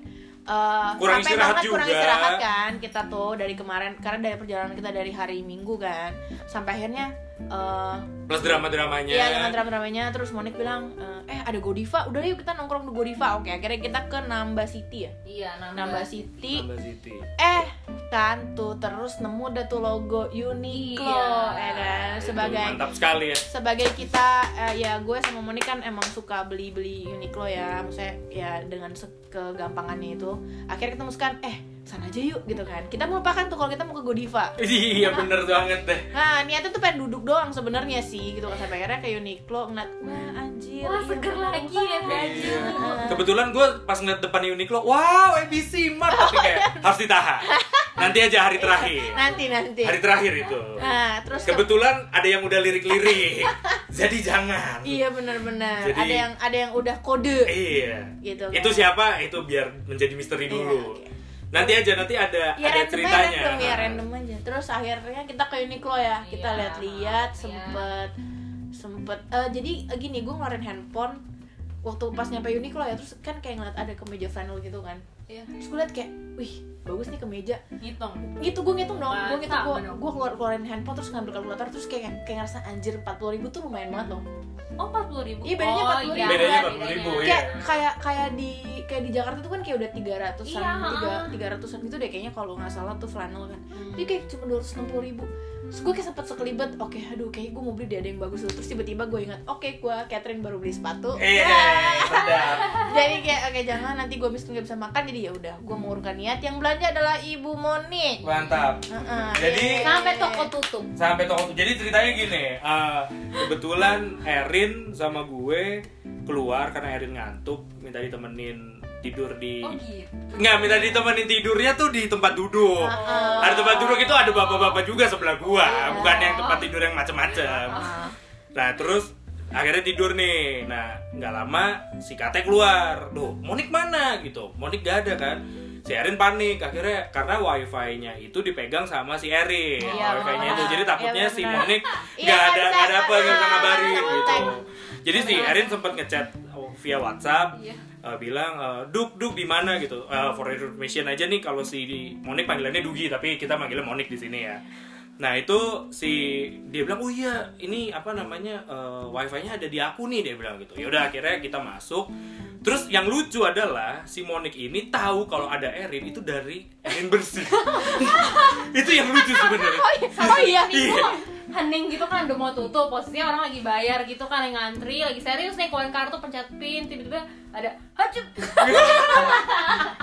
Speaker 1: eh,
Speaker 2: Kurang
Speaker 1: capek
Speaker 2: istirahat
Speaker 1: banget, kurang
Speaker 2: juga.
Speaker 1: istirahat kan kita tuh dari kemarin karena dari perjalanan kita dari hari Minggu kan sampai akhirnya eh,
Speaker 2: Plus drama-dramanya.
Speaker 1: Iya dengan drama-dramanya terus Monik bilang eh eh, ada Godiva udah yuk kita nongkrong di Godiva oke akhirnya kita ke Namba City ya
Speaker 3: Iya, nambah,
Speaker 1: Namba City
Speaker 2: Nambah City.
Speaker 1: eh kan tuh terus nemu dah tuh logo Uniqlo
Speaker 3: Iya.
Speaker 1: ya kan sebagai
Speaker 2: Mantap sekali ya.
Speaker 1: sebagai kita eh, ya gue sama Monik kan emang suka beli beli Uniqlo ya maksudnya ya dengan se- kegampangannya itu akhirnya kita memutuskan eh sana aja yuk gitu kan kita melupakan tuh kalau kita mau ke Godiva
Speaker 2: Iya bener banget deh.
Speaker 1: nah niatnya tuh pengen duduk doang sebenarnya sih gitu kan sampai akhirnya ke Uniqlo ngeliat wah anjir
Speaker 3: Wah,
Speaker 1: iya,
Speaker 3: seger
Speaker 1: bener.
Speaker 3: lagi ya baju
Speaker 2: Iya. Kebetulan gue pas ngeliat depan Uniqlo, wow ABC Mart
Speaker 1: Oh,
Speaker 2: tapi kayak harus ditahan. Nanti aja hari terakhir.
Speaker 1: nanti iya. nanti
Speaker 2: Hari terakhir itu.
Speaker 1: nah terus ke-
Speaker 2: Kebetulan ada yang udah lirik-lirik. jadi jangan.
Speaker 1: iya benar-benar
Speaker 2: Jadi-
Speaker 1: ada yang ada yang udah kode
Speaker 2: Iya.
Speaker 1: Gitu kan.
Speaker 2: Itu siapa? Itu biar menjadi misteri
Speaker 1: Iya,
Speaker 2: dulu.
Speaker 1: oke.
Speaker 2: Nanti aja nanti ada
Speaker 1: ya
Speaker 2: ada
Speaker 1: random aja
Speaker 2: ceritanya.
Speaker 1: random ya random aja terus akhirnya kita ke Uniqlo ya kita
Speaker 3: Iya.
Speaker 1: lihat-lihat
Speaker 3: Iya.
Speaker 1: sempet sempet eh, jadi eh, gini gue ngeluarin handphone waktu pas nyampe Uniqlo ya terus kan kayak ngeliat ada kemeja flannel gitu kan
Speaker 3: Iya,
Speaker 1: terus gue liat kayak wih bagus nih kemeja
Speaker 3: ngitung
Speaker 1: gitu gue ngitung dong gue ngitung
Speaker 3: Mantap,
Speaker 1: gue
Speaker 3: bener.
Speaker 1: gue keluar keluarin handphone terus ngambil kalkulator terus kayak kayak ngerasa anjir 40.000 ribu tuh lumayan banget loh
Speaker 3: Oh, 40 ribu
Speaker 1: Iya, bedanya 40.000.
Speaker 2: Bedanya 40.000, Oh, iya.
Speaker 1: kayak kayak kayak di kayak di Jakarta tuh kan kayak udah 300-an
Speaker 3: Iya.
Speaker 1: tiga tiga ratusan gitu deh kayaknya kalau nggak salah tuh flannel kan tapi
Speaker 3: Hmm.
Speaker 1: kayak cuma dua ratus ribu terus gue kayak sempet sekelibat oke aduh kayaknya gue mau beli dia ada yang bagus loh. terus tiba-tiba gue ingat oke gue Catherine baru beli sepatu
Speaker 2: Eh, sedap.
Speaker 1: jadi kayak oke jangan nanti gue miskin nggak bisa makan jadi ya udah gue mengurungkan niat yang belanja adalah ibu Moni
Speaker 2: Mantap.
Speaker 1: Heeh.
Speaker 2: Jadi
Speaker 4: Sampai toko tutup.
Speaker 2: sampai toko jadi ceritanya gini eh, kebetulan Erin sama gue keluar karena Erin ngantuk minta ditemenin tidur di
Speaker 3: Oh gitu
Speaker 2: nggak minta ditemenin tidurnya tuh di tempat duduk
Speaker 1: Heeh. Iya.
Speaker 2: ada tempat duduk itu ada bapak-bapak juga sebelah gua bukan yang tempat tidur yang macem-macem
Speaker 1: Heeh.
Speaker 2: Nah terus akhirnya tidur nih nah nggak lama si Kate keluar Duh, Monik mana gitu Monik gak ada kan si Erin panik akhirnya karena wifi-nya itu dipegang sama si Erin
Speaker 1: Iya,
Speaker 2: wifi-nya itu
Speaker 1: benar.
Speaker 2: jadi takutnya
Speaker 1: Iya,
Speaker 2: si
Speaker 1: benar.
Speaker 2: Monik
Speaker 4: Iya,
Speaker 2: nggak
Speaker 4: nggak
Speaker 2: ada
Speaker 4: bisa
Speaker 2: nggak ada apa nggak bisa
Speaker 4: kontak,
Speaker 2: ngabarin
Speaker 4: nggak bisa
Speaker 2: gitu
Speaker 4: kontak.
Speaker 2: jadi si Erin sempat ngechat via WhatsApp
Speaker 3: Iya.
Speaker 2: eh, bilang eh, Duk Duk di mana gitu Eh, for information aja nih kalau si Monik panggilannya Dugi tapi kita manggilnya Monik di sini ya nah itu si dia bilang oh iya ini apa namanya eh, wifi-nya ada di aku nih dia bilang gitu yaudah akhirnya kita masuk terus yang lucu adalah si Monik ini tahu kalau ada Erin itu dari Erin bersih itu yang lucu sebenarnya
Speaker 1: Oh iya.
Speaker 2: Iya.
Speaker 3: hening gitu kan udah mau tutup posisinya orang lagi bayar gitu kan yang ngantri lagi serius nih keluarin kartu pencet pin tiba-tiba ada "Oh, hacu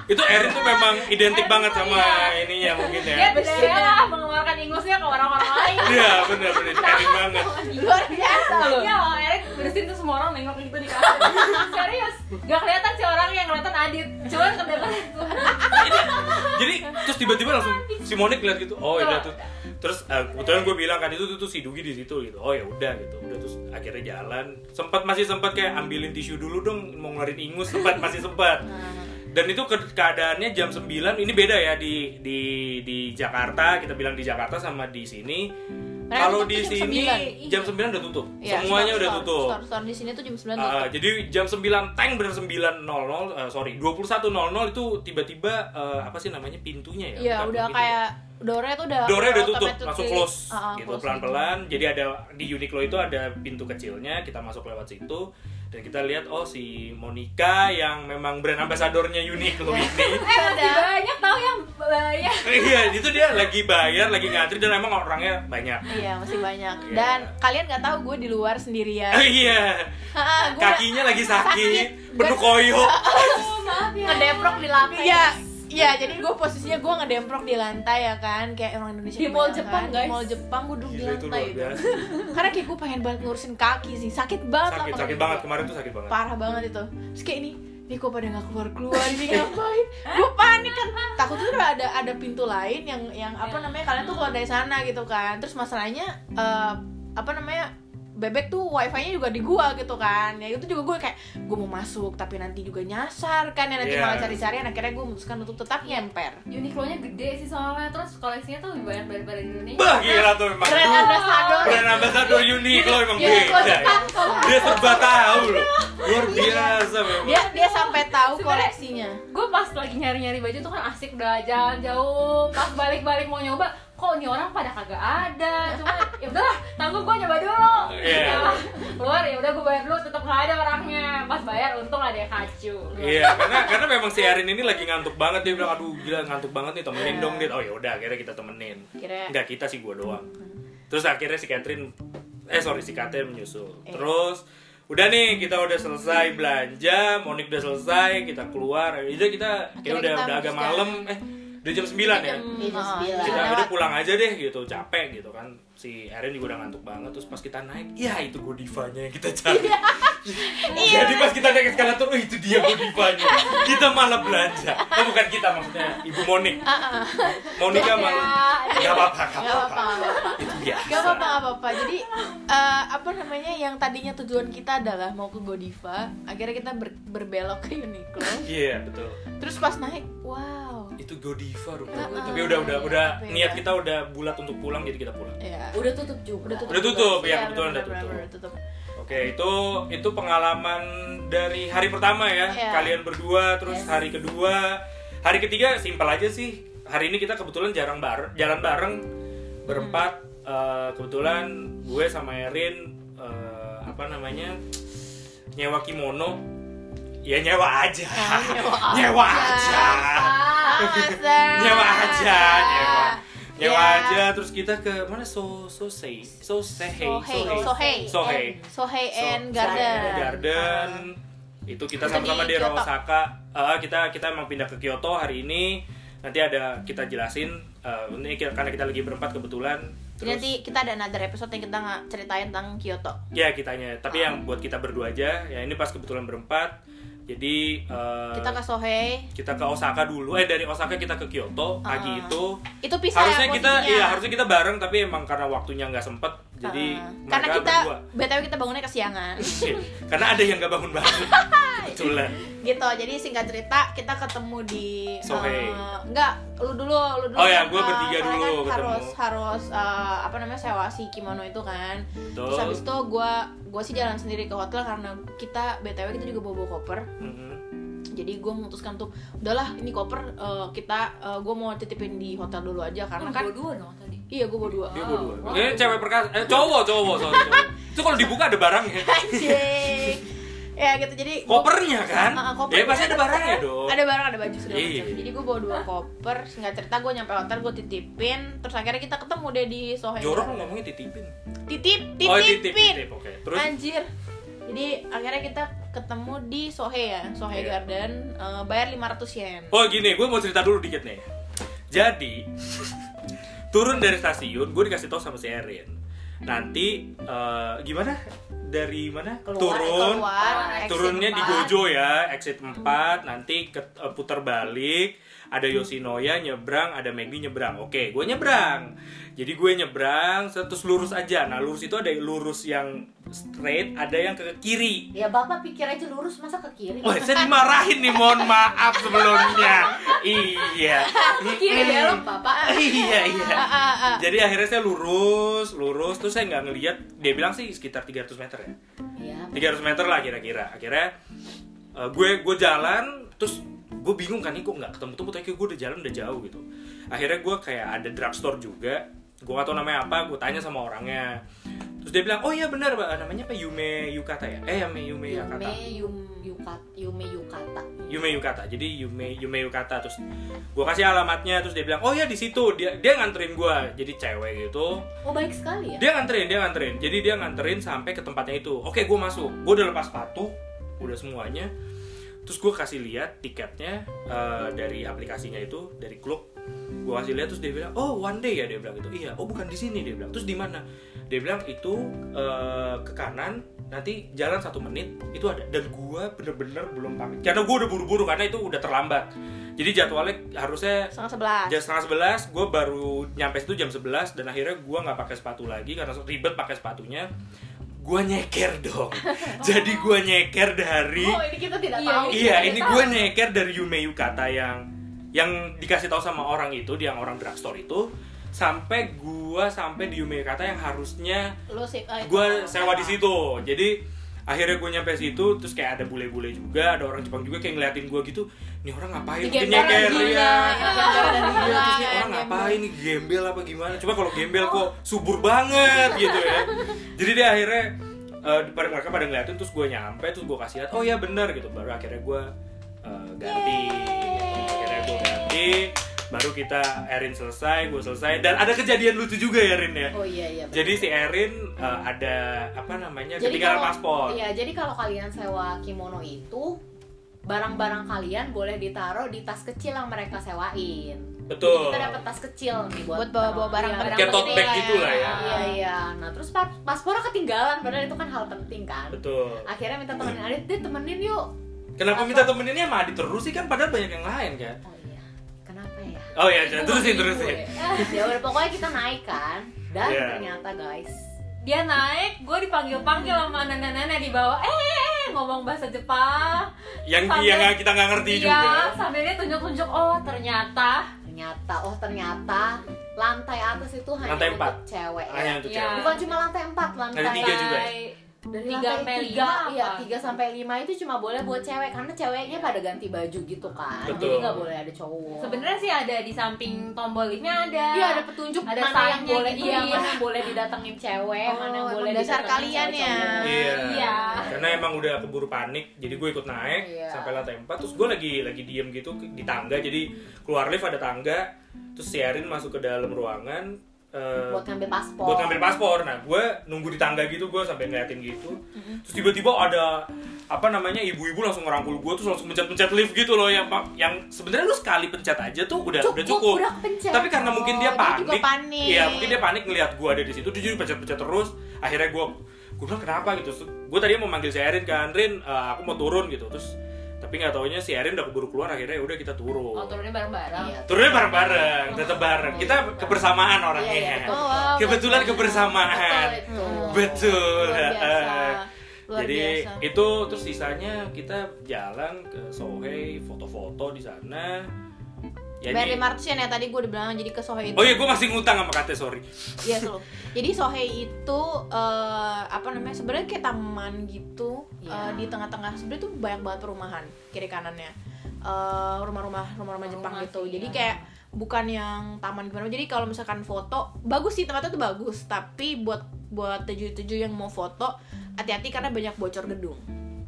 Speaker 2: itu Erin tuh memang identik
Speaker 3: Erin
Speaker 2: banget
Speaker 3: tuh
Speaker 2: sama
Speaker 3: iya.
Speaker 2: ininya mungkin ya
Speaker 3: dia bersialah mengeluarkan ingusnya ke orang-orang lain
Speaker 2: iya bener-bener Erin banget
Speaker 4: Luar biasa loh.
Speaker 3: Iya loh, Erik bersihin tuh semua orang nengok gitu di kamar Serius, gak kelihatan sih orang yang kelihatan Adit Cuman kedengeran tuh
Speaker 2: jadi terus tiba-tiba langsung si Monik lihat gitu oh ya udah tuh terus eh, kebetulan gue bilang kan itu tuh, tuh si Dugi di situ gitu oh ya udah gitu udah terus akhirnya jalan sempat masih sempat kayak ambilin tisu dulu dong mau ngeluarin ingus sempat masih sempat dan itu ke- keadaannya jam 9 ini beda ya di di di Jakarta kita bilang di Jakarta sama di sini
Speaker 1: Mereka
Speaker 2: kalau
Speaker 1: tutup
Speaker 2: di
Speaker 1: tuh jam
Speaker 2: sini
Speaker 1: 9.
Speaker 2: jam 9 udah tutup
Speaker 1: Iya,
Speaker 2: semuanya
Speaker 1: store-
Speaker 2: udah
Speaker 1: store-
Speaker 2: tutup
Speaker 1: Store, store di sini tuh jam 9 tutup.
Speaker 2: Uh, jadi jam 9 tank bener 9.00 uh, sorry 21.00 itu tiba-tiba uh, apa sih namanya pintunya ya?
Speaker 1: Iya,
Speaker 2: Bukan
Speaker 1: udah
Speaker 2: pintu.
Speaker 1: kayak dornya tuh udah
Speaker 2: Doornya udah tutup,
Speaker 1: automatically-
Speaker 2: langsung close
Speaker 1: Ah, ah,
Speaker 2: gitu
Speaker 1: close
Speaker 2: pelan-pelan. Jadi ada di Uniqlo itu ada pintu kecilnya, kita masuk lewat situ dan kita lihat oh si Monica yang memang brand ambassadornya
Speaker 1: Iya,
Speaker 2: Uniqlo ini.
Speaker 3: Eh masih banyak tau yang eh, ya. bayar
Speaker 2: Iya, itu dia lagi bayar, lagi ngantri dan emang orangnya banyak.
Speaker 1: Iya, masih banyak.
Speaker 2: Iya.
Speaker 1: Dan kalian nggak tahu gue di luar sendirian.
Speaker 2: Iya,
Speaker 1: Ah, gue
Speaker 2: kakinya lagi
Speaker 1: sakit.
Speaker 2: sakit, penuh koyok.
Speaker 3: Oh maaf ya
Speaker 4: Ngedeprok di lantai.
Speaker 1: Iya, iya. Jadi gue posisinya gue ngedemprok di lantai ya kan, kayak orang Indonesia.
Speaker 3: Di mall
Speaker 1: kebanyakan.
Speaker 3: Jepang, guys.
Speaker 1: Di mall Jepang gue duduk di
Speaker 2: Gila, itu
Speaker 1: lantai.
Speaker 2: luar
Speaker 1: itu.
Speaker 2: biasa.
Speaker 1: Karena kayak gue pengen banget ngurusin kaki sih, sakit banget.
Speaker 2: sakit
Speaker 1: lah
Speaker 2: sakit
Speaker 1: kaki
Speaker 2: banget
Speaker 1: gua.
Speaker 2: kemarin tuh sakit banget
Speaker 1: Parah banget itu. Terus kayak ini, ini kok pada nggak keluar keluar ini ngapain? Gue panik kan. Takut tuh ada ada pintu lain yang yang apa namanya kalian tuh keluar dari sana gitu kan. Terus masalahnya eh, apa namanya? bebek tuh wifi-nya juga di gua gitu kan ya itu juga gue kayak gue mau masuk tapi nanti juga nyasar kan ya nanti
Speaker 2: Iya.
Speaker 1: malah cari-carian akhirnya gue memutuskan untuk tetap nyemper
Speaker 3: Uniqlo-nya gede sih soalnya Terus koleksinya tuh lebih banyak daripada di Indonesia
Speaker 2: bah gila tuh emang
Speaker 1: Brand
Speaker 2: Duh,
Speaker 1: ambassador.
Speaker 2: brand ambassador Uniqlo emang
Speaker 1: Uniqlo
Speaker 2: beda ya. dia serba tahu loh
Speaker 1: Iya.
Speaker 2: luar biasa memang
Speaker 1: dia dia sampai tahu
Speaker 3: Sebenarnya-
Speaker 1: koleksinya
Speaker 3: Gue pas lagi nyari-nyari baju tuh kan asik udah jalan jauh Pas balik-balik mau nyoba Kok ini orang pada kagak ada Cuma ya udahlah tangguh gue nyoba dulu
Speaker 2: Iya.
Speaker 3: Ya, Keluar ya udah gue bayar dulu tetap gak ada orangnya Pas bayar untung ada yang kacu
Speaker 2: Iya, karena karena memang si Arin ini lagi ngantuk banget dia bilang aduh gila ngantuk banget nih temenin dong dit. Oh ya udah akhirnya kita temenin.
Speaker 1: Akhirnya-
Speaker 2: Enggak kita sih gua doang. Terus akhirnya si Catherine eh sorry si Catherine menyusul.
Speaker 1: Iya.
Speaker 2: Terus udah nih kita udah selesai belanja, Monik udah selesai, kita keluar. Udah kita kayak
Speaker 1: Akhirnya
Speaker 2: udah
Speaker 1: kita
Speaker 2: udah agak
Speaker 1: memutuskan.
Speaker 2: malam eh udah jam 9 ya.
Speaker 4: Beda
Speaker 1: Ah,
Speaker 4: sembilan.
Speaker 2: kita
Speaker 1: lewat.
Speaker 2: udah pulang aja deh gitu capek gitu kan si Erin juga udah ngantuk banget terus pas kita naik ya itu godivanya yang kita cari
Speaker 1: Iya.
Speaker 2: jadi pas kita naik eskalator oh itu dia godivanya kita malah belanja oh bukan kita maksudnya ibu Monik
Speaker 3: Iya.
Speaker 2: Monika malah nggak apa-apa nggak
Speaker 1: Iya. Nggak
Speaker 2: apa-apa
Speaker 1: apa-apa.
Speaker 2: itu biasa
Speaker 1: Gak apa-apa, gak apa-apa. Jadi eh, apa namanya yang tadinya tujuan kita adalah mau ke Godiva, akhirnya kita ber- berbelok ke Uniqlo.
Speaker 2: iya betul
Speaker 1: Terus pas naik, wow.
Speaker 2: itu Godiva rupanya
Speaker 1: Ah,
Speaker 2: tapi udah udah udah
Speaker 1: beda.
Speaker 2: niat kita udah bulat untuk pulang jadi kita pulang
Speaker 1: Ya.
Speaker 4: Udah tutup juga.
Speaker 1: Udah tutup.
Speaker 2: udah tutup
Speaker 1: Iya,
Speaker 2: ya kebetulan udah
Speaker 1: benar-benar,
Speaker 2: tutup
Speaker 1: benar-benar tutup.
Speaker 2: Oke, itu itu pengalaman dari hari pertama ya.
Speaker 1: Iya.
Speaker 2: Kalian berdua terus hari kedua, hari ketiga simpel aja sih. Hari ini kita kebetulan jarang bar jalan bareng berempat
Speaker 1: Hmm.
Speaker 2: Eh, kebetulan gue sama Erin eh, apa namanya? nyewa kimono. Ya nyewa aja.
Speaker 1: nyewa
Speaker 2: Nyewa
Speaker 1: aja.
Speaker 2: aja.
Speaker 1: Ah, Masa.
Speaker 2: Nyewa aja, nyewa. Nyewa
Speaker 1: Iya.
Speaker 2: aja terus kita ke mana? So Sosei.
Speaker 1: Sohei,
Speaker 2: Sosehei. Sohei.
Speaker 1: Sohei,
Speaker 2: Sohei.
Speaker 1: Sohei and
Speaker 2: So- Sohei and
Speaker 1: Garden.
Speaker 2: Garden. itu kita
Speaker 1: Itu
Speaker 2: sama-sama
Speaker 1: di
Speaker 2: di
Speaker 1: Kyoto.
Speaker 2: Osaka. Eh, kita kita emang pindah ke Kyoto hari ini. Nanti ada kita jelasin eh, ini ki- karena kita lagi berempat kebetulan.
Speaker 1: Jadi nanti kita ada another episode yang kita nggak ceritain tentang Kyoto.
Speaker 2: ya kitanya. Tapi yang buat kita berdua aja. Ya ini pas kebetulan berempat. Jadi eh,
Speaker 1: Kita ke Sohei,
Speaker 2: kita ke Osaka dulu. Eh dari Osaka kita ke Kyoto pagi itu.
Speaker 1: itu pisah
Speaker 2: Harusnya
Speaker 1: ya
Speaker 2: kita
Speaker 1: posisinya.
Speaker 2: iya harusnya kita bareng tapi emang karena waktunya nggak sempet Jadi
Speaker 1: Ah.
Speaker 2: mereka
Speaker 1: karena kita
Speaker 2: berdua.
Speaker 1: btw kita bangunnya kesiangan
Speaker 2: Shit. karena ada yang gak bangun bangun. Kebetulan.
Speaker 1: gitu jadi singkat cerita kita ketemu di
Speaker 2: Sore.
Speaker 1: eh, enggak lu dulu lu dulu
Speaker 2: Oh ya,
Speaker 1: kan,
Speaker 2: gua
Speaker 1: eh,
Speaker 2: bertiga
Speaker 1: soalnya
Speaker 2: dulu
Speaker 1: kan
Speaker 2: ketemu.
Speaker 1: harus harus eh, apa namanya sewa si kimono itu kan terus
Speaker 2: Betul.
Speaker 1: habis itu gue gue sih jalan sendiri ke hotel karena kita btw kita juga bawa bawa koper
Speaker 2: Mhm.
Speaker 1: jadi gue memutuskan tuh udahlah ini koper eh, kita gue mau titipin di hotel dulu aja karena kan
Speaker 3: dua dong tadi
Speaker 1: iya gue bawa dua
Speaker 2: Dia berdua.
Speaker 3: Wow.
Speaker 2: Ini cewek perkasa. Eh, cowok, cowok, sorry. cowok. Itu kalau dibuka ada ya. barangnya.
Speaker 1: anjing ya gitu jadi gua-
Speaker 2: Kopernya kan?
Speaker 1: Ah, ah,
Speaker 2: Ya pasti ada barangnya dong.
Speaker 1: ada barang ada baju segala
Speaker 2: Iya.
Speaker 1: macam jadi gue bawa dua koper nggak cerita gue nyampe hotel gue titipin terus akhirnya kita ketemu deh di Sohei
Speaker 2: Jorok lo ngomongnya titipin.
Speaker 1: titip
Speaker 2: Oh, titip,
Speaker 1: titipin
Speaker 2: titip. Oke. Terus
Speaker 1: anjir jadi akhirnya kita ketemu di Sohei ya Sohei
Speaker 2: Iya.
Speaker 1: Garden eh, bayar 500 yen
Speaker 2: Oh gini, gue mau cerita dulu dikit nih. Jadi turun dari stasiun, gue dikasih tahu sama si Erin. Nanti eh, gimana? Dari mana?
Speaker 4: Keluar,
Speaker 2: turun,
Speaker 1: Nah, keluar exit
Speaker 2: turunnya di
Speaker 1: empat.
Speaker 2: Gojo ya, exit 4 Nanti ke, eh, putar balik, ada Yoshinoya nyebrang, ada Maggie nyebrang. Oke, gue nyebrang. Jadi gue nyebrang, terus lurus aja. Nah lurus itu ada lurus yang straight, ada yang ke kiri.
Speaker 4: Ya bapak pikir aja lurus masa ke kiri.
Speaker 2: Wah, saya dimarahin nih, mohon maaf sebelumnya. Iya.
Speaker 3: kiri belok papa
Speaker 2: Iya, iya.
Speaker 1: Ah, ah, ah.
Speaker 2: Jadi akhirnya saya lurus, lurus, terus saya nggak ngeliat, dia bilang sih sekitar 300 meter ya.
Speaker 4: Ya.
Speaker 2: 300 meter lah kira-kira. Akhirnya eh, gue gue jalan, terus gue bingung kan ini kok nggak ketemu-temu, tapi kayak gue udah jalan udah jauh gitu. Akhirnya gue kayak ada drugstore juga, gue gak tau namanya apa, gue tanya sama orangnya. Terus dia bilang, oh iya benar, Pak. namanya apa Yume Yukata ya? Eh, Yume Yume Yukata.
Speaker 4: Yume Yum Yukat Yume Yukata.
Speaker 2: Yume Yukata. Jadi Yume Yume Yukata terus gua kasih alamatnya terus dia bilang, "Oh ya di situ." Dia dia nganterin gua. Jadi cewek gitu.
Speaker 4: Oh baik sekali ya.
Speaker 2: Dia nganterin, dia nganterin. Jadi dia nganterin sampai ke tempatnya itu. Oke, gua masuk. Gua udah lepas sepatu, udah semuanya. Terus gua kasih lihat tiketnya eh, dari aplikasinya itu dari klub. Gua kasih lihat terus dia bilang, "Oh, one day ya." Dia bilang gitu. "Iya, oh bukan di sini." Dia bilang. "Terus di mana?" Dia bilang itu eh, ke kanan nanti jalan satu menit itu ada dan gua bener-bener belum pamit karena gua udah buru-buru karena itu udah terlambat jadi jadwalnya harusnya
Speaker 1: setengah sebelas
Speaker 2: jam setengah sebelas gue baru nyampe situ jam 11 dan akhirnya gue nggak pakai sepatu lagi karena ribet pakai sepatunya gue nyeker dong jadi gue nyeker dari
Speaker 4: Oh ini kita tidak
Speaker 3: Iya,
Speaker 4: tahu.
Speaker 2: iya ini gue nyeker dari Yume Yukata yang yang dikasih tahu sama orang itu dia yang orang drugstore itu sampai gue sampai di Yume Yukata yang harusnya
Speaker 1: lu sih
Speaker 4: Oh,
Speaker 1: eh,
Speaker 2: gue
Speaker 1: itu-
Speaker 2: sewa di situ jadi akhirnya gue nyampe situ terus kayak ada bule-bule juga ada orang Jepang juga kayak ngeliatin gue gitu nih orang ngapain Dia
Speaker 1: Digembel
Speaker 2: nyeker
Speaker 1: lagi,
Speaker 2: ya
Speaker 1: ya, gembel dan
Speaker 2: Iya,
Speaker 1: gila,
Speaker 2: terus ini orang
Speaker 1: gembel.
Speaker 2: ngapain nih gembel apa gimana cuma kalau gembel kok subur banget gitu ya jadi dia akhirnya eh, pada mereka pada ngeliatin terus gue nyampe terus gue kasih lihat oh ya benar gitu baru akhirnya gue eh, ganti gitu. akhirnya gue ganti baru kita Erin selesai gue selesai dan ada kejadian lucu juga ya Erin ya
Speaker 4: Oh iya iya.
Speaker 2: jadi si Erin eh, ada apa namanya
Speaker 4: Jadi
Speaker 2: ketinggalan
Speaker 4: kalau-
Speaker 2: paspor.
Speaker 4: Iya, jadi kalau kalian sewa kimono itu barang-barang kalian boleh ditaruh di tas kecil yang mereka sewain. Jadi
Speaker 2: Betul.
Speaker 4: kita dapat tas kecil nih buat,
Speaker 1: Buat bawa-bawa barang
Speaker 4: Iya,
Speaker 1: penting
Speaker 2: Kayak tote
Speaker 1: lah
Speaker 2: bag
Speaker 1: ya.
Speaker 2: gitu lah ya.
Speaker 4: Iya iya. Nah, terus pa- paspornya ketinggalan padahal itu kan hal penting kan.
Speaker 2: Betul.
Speaker 4: Akhirnya minta temenin Adit, "Dit, temenin yuk."
Speaker 2: Kenapa
Speaker 4: Apa?
Speaker 2: minta temeninnya sama Adi terus sih kan padahal banyak yang lain kan?
Speaker 4: Oh iya. Kenapa ya?
Speaker 2: Oh iya, terusin terusin.
Speaker 4: ya udah pokoknya kita naik kan. Dan
Speaker 2: Iya.
Speaker 4: ternyata guys,
Speaker 3: dia naik gue dipanggil panggil sama nenek nenek di bawah eh, eh eh, ngomong bahasa Jepang
Speaker 2: Yang
Speaker 3: Sampai-
Speaker 2: yang kita nggak ngerti juga.
Speaker 3: iya sambil dia tunjuk tunjuk oh ternyata
Speaker 4: ternyata oh ternyata lantai atas itu hanya
Speaker 2: Lantai empat.
Speaker 4: untuk cewek. ya.
Speaker 2: Hanya untuk
Speaker 3: Iya.
Speaker 2: cewek.
Speaker 4: Bukan cuma lantai 4, lantai
Speaker 2: Ada tiga juga ya?
Speaker 3: Sampai
Speaker 4: dari
Speaker 3: Tiga
Speaker 4: lantai
Speaker 3: sampai
Speaker 4: tiga,
Speaker 3: lima
Speaker 4: iya,
Speaker 3: apa?
Speaker 4: 3 sampai 5 itu cuma boleh buat cewek karena ceweknya pada ganti baju gitu kan. Jadi
Speaker 2: Betul.
Speaker 4: nggak boleh ada cowok.
Speaker 3: sebenarnya sih ada di samping tombol liftnya ada
Speaker 4: Iya ada petunjuk
Speaker 3: Ada
Speaker 4: mana yang
Speaker 3: sayangnya
Speaker 4: boleh
Speaker 3: gitu,
Speaker 4: iya,
Speaker 3: iya.
Speaker 4: mana yang boleh didatengin cewek,
Speaker 1: Oh,
Speaker 4: mana yang
Speaker 1: emang
Speaker 4: boleh
Speaker 1: dasar
Speaker 4: didatengin
Speaker 1: kalian ya.
Speaker 4: cowok-cowok.
Speaker 2: Iya.
Speaker 3: Iya.
Speaker 2: Karena emang udah keburu panik, jadi gue ikut naik
Speaker 4: Iya.
Speaker 2: sampai lantai 4 terus gue lagi lagi diem gitu ke- di tangga. Jadi keluar lift ada tangga, terus si Erin masuk ke dalam ruangan eh,
Speaker 4: Buat ngambil paspor.
Speaker 2: buat ngambil paspor. Nah, gue nunggu di tangga gitu, gue sampai ngeliatin gitu. Terus tiba-tiba ada apa namanya ibu-ibu langsung ngerangkul gue terus langsung pencet-pencet lift gitu loh yang pak- yang sebenarnya lu sekali pencet aja tuh udah udah cukup.
Speaker 4: udah kepencet.
Speaker 2: Tapi karena mungkin dia
Speaker 1: Oh, dia
Speaker 2: panik,
Speaker 1: juga panik.
Speaker 2: iya mungkin dia panik ngelihat gue ada di situ, dia jadi pencet-pencet terus. Akhirnya gue gue bilang kenapa gitu. Gue tadi mau manggil si Erin kan, Rin eh, aku mau turun gitu terus tapi nggak taunya si Erin udah keburu keluar akhirnya ya udah kita turun
Speaker 3: Oh, turunnya bareng-bareng.
Speaker 4: Iya.
Speaker 2: turunnya bareng-bareng tetap bareng kita kebersamaan orangnya
Speaker 3: Iya, iya, betul.
Speaker 1: Oh, wow.
Speaker 2: Nah, kebetulan
Speaker 3: Betul
Speaker 2: kebersamaan
Speaker 3: itu.
Speaker 4: Iya,
Speaker 2: betul
Speaker 1: luar biasa luar
Speaker 2: Jadi ya,
Speaker 1: biasa
Speaker 2: itu terus sisanya kita jalan ke Sohei foto-foto di sana. Jadi
Speaker 1: Barry Martian ya tadi gue udah bilang jadi ke Sohei itu
Speaker 2: Oh iya, gue masih ngutang sama Kate, sorry.
Speaker 1: Iya, selalu. Jadi Sohei itu eh, apa namanya? Sebenarnya kayak taman gitu eh,
Speaker 3: Iya.
Speaker 1: di tengah-tengah. Sebenarnya tuh banyak banget perumahan kiri kanannya. Eh, rumah-rumah rumah-rumah Jepang
Speaker 3: Rumah
Speaker 1: gitu.
Speaker 3: sih,
Speaker 1: Jadi
Speaker 3: iya.
Speaker 1: kayak bukan yang taman gimana. Jadi kalau misalkan foto bagus sih tempatnya tuh bagus, tapi buat buat tujuh-tujuh yang mau foto hati-hati karena banyak bocor gedung.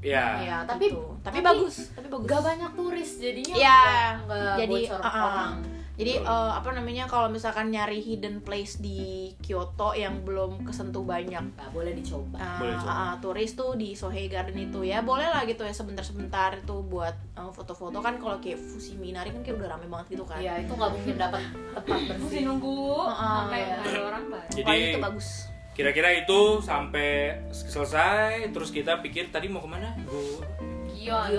Speaker 2: Ya.
Speaker 1: Iya,
Speaker 4: Nah, tapi-
Speaker 1: gitu. tapi,
Speaker 4: tapi-
Speaker 1: bagus, tapi bagus.
Speaker 4: Gak banyak turis jadinya
Speaker 1: Iya,
Speaker 3: Nggak
Speaker 1: jadi,
Speaker 3: bocor
Speaker 1: uh-uh.
Speaker 3: orang.
Speaker 1: Jadi eh, apa namanya kalau misalkan nyari hidden place di Kyoto yang belum kesentuh banyak
Speaker 4: Gak boleh dicoba
Speaker 1: Ah,
Speaker 2: Boleh, coba.
Speaker 1: ah, turis tuh di Sohei Garden itu ya boleh lah gitu ya sebentar-sebentar itu buat eh, foto-foto kan kalau kayak Fujiminari kan kayak udah rame banget gitu kan
Speaker 4: Iya itu gak mungkin dapat tempat
Speaker 3: Mesti
Speaker 4: bersih
Speaker 3: nunggu sampai
Speaker 1: Iya.
Speaker 3: ada orang bareng.
Speaker 1: Jadi,
Speaker 2: Jadi
Speaker 1: itu bagus
Speaker 2: kira-kira itu sampai selesai terus kita pikir tadi mau kemana? Gua
Speaker 3: Gion.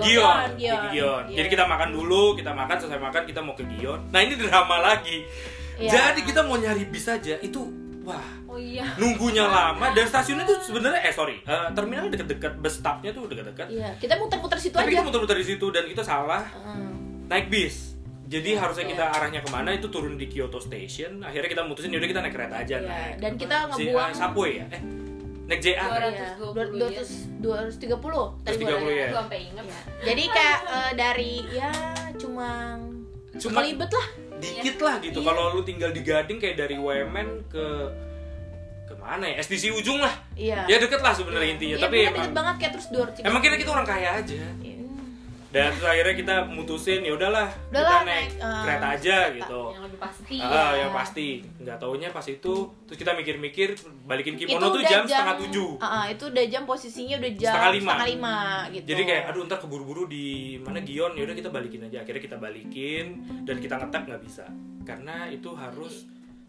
Speaker 2: Gion,
Speaker 1: Gion, Iya,
Speaker 2: di Gion.
Speaker 1: Gion.
Speaker 2: Jadi kita makan dulu, kita makan selesai makan kita mau ke Gion. Nah, ini drama lagi.
Speaker 1: Iya.
Speaker 2: Jadi kita mau nyari bis aja itu wah
Speaker 3: Oh iya.
Speaker 2: nunggunya lama dan stasiunnya tuh sebenarnya eh sorry eh, terminalnya deket-deket bus stopnya tuh deket-deket
Speaker 1: iya kita muter-muter situ
Speaker 2: tapi
Speaker 1: aja
Speaker 2: kita muter-muter di situ dan kita salah naik bis jadi
Speaker 1: Iya,
Speaker 2: harusnya kita arahnya kemana itu turun di Kyoto Station akhirnya kita mutusin yaudah kita naik kereta aja
Speaker 1: Iya,
Speaker 2: naik
Speaker 1: dan kita
Speaker 2: si,
Speaker 1: ngebuang
Speaker 2: eh, Subway ya eh naik JR kan?
Speaker 1: Iya,
Speaker 3: 220
Speaker 1: dua- 200 230 tadi gua lihat.
Speaker 2: 230 ya.
Speaker 3: Aku sampai inget.
Speaker 1: Iya. jadi kayak eh, dari ya cuma
Speaker 2: Cuma-
Speaker 1: kelibet lah
Speaker 2: dikit lah gitu
Speaker 1: Iya.
Speaker 2: kalau lu tinggal di Gading kayak dari Wemen ke kemana ya SDC ujung lah
Speaker 1: iya
Speaker 2: ya deket lah sebenarnya intinya
Speaker 1: Iya,
Speaker 2: tapi
Speaker 1: bener,
Speaker 2: emang
Speaker 1: deket banget kayak terus 230
Speaker 2: emang kita gitu kita orang kaya aja
Speaker 1: Iya.
Speaker 2: dan terus akhirnya kita mutusin ya udahlah kita
Speaker 1: Udahlah,
Speaker 2: naik
Speaker 1: naik, eh,
Speaker 2: kereta aja
Speaker 1: kereta. Iya.
Speaker 2: gitu
Speaker 3: Yang lebih pasti.
Speaker 2: Ah, yang pasti nggak taunya pas itu terus kita mikir-mikir balikin kimono tuh
Speaker 1: udah
Speaker 2: jam, setengah tujuh
Speaker 1: Ah, ah, itu udah jam posisinya udah jam
Speaker 2: Setengah lima.
Speaker 1: lima, gitu.
Speaker 2: jadi kayak aduh ntar keburu-buru di mana Gion ya udah kita balikin aja akhirnya kita balikin dan kita ngetap nggak bisa karena itu harus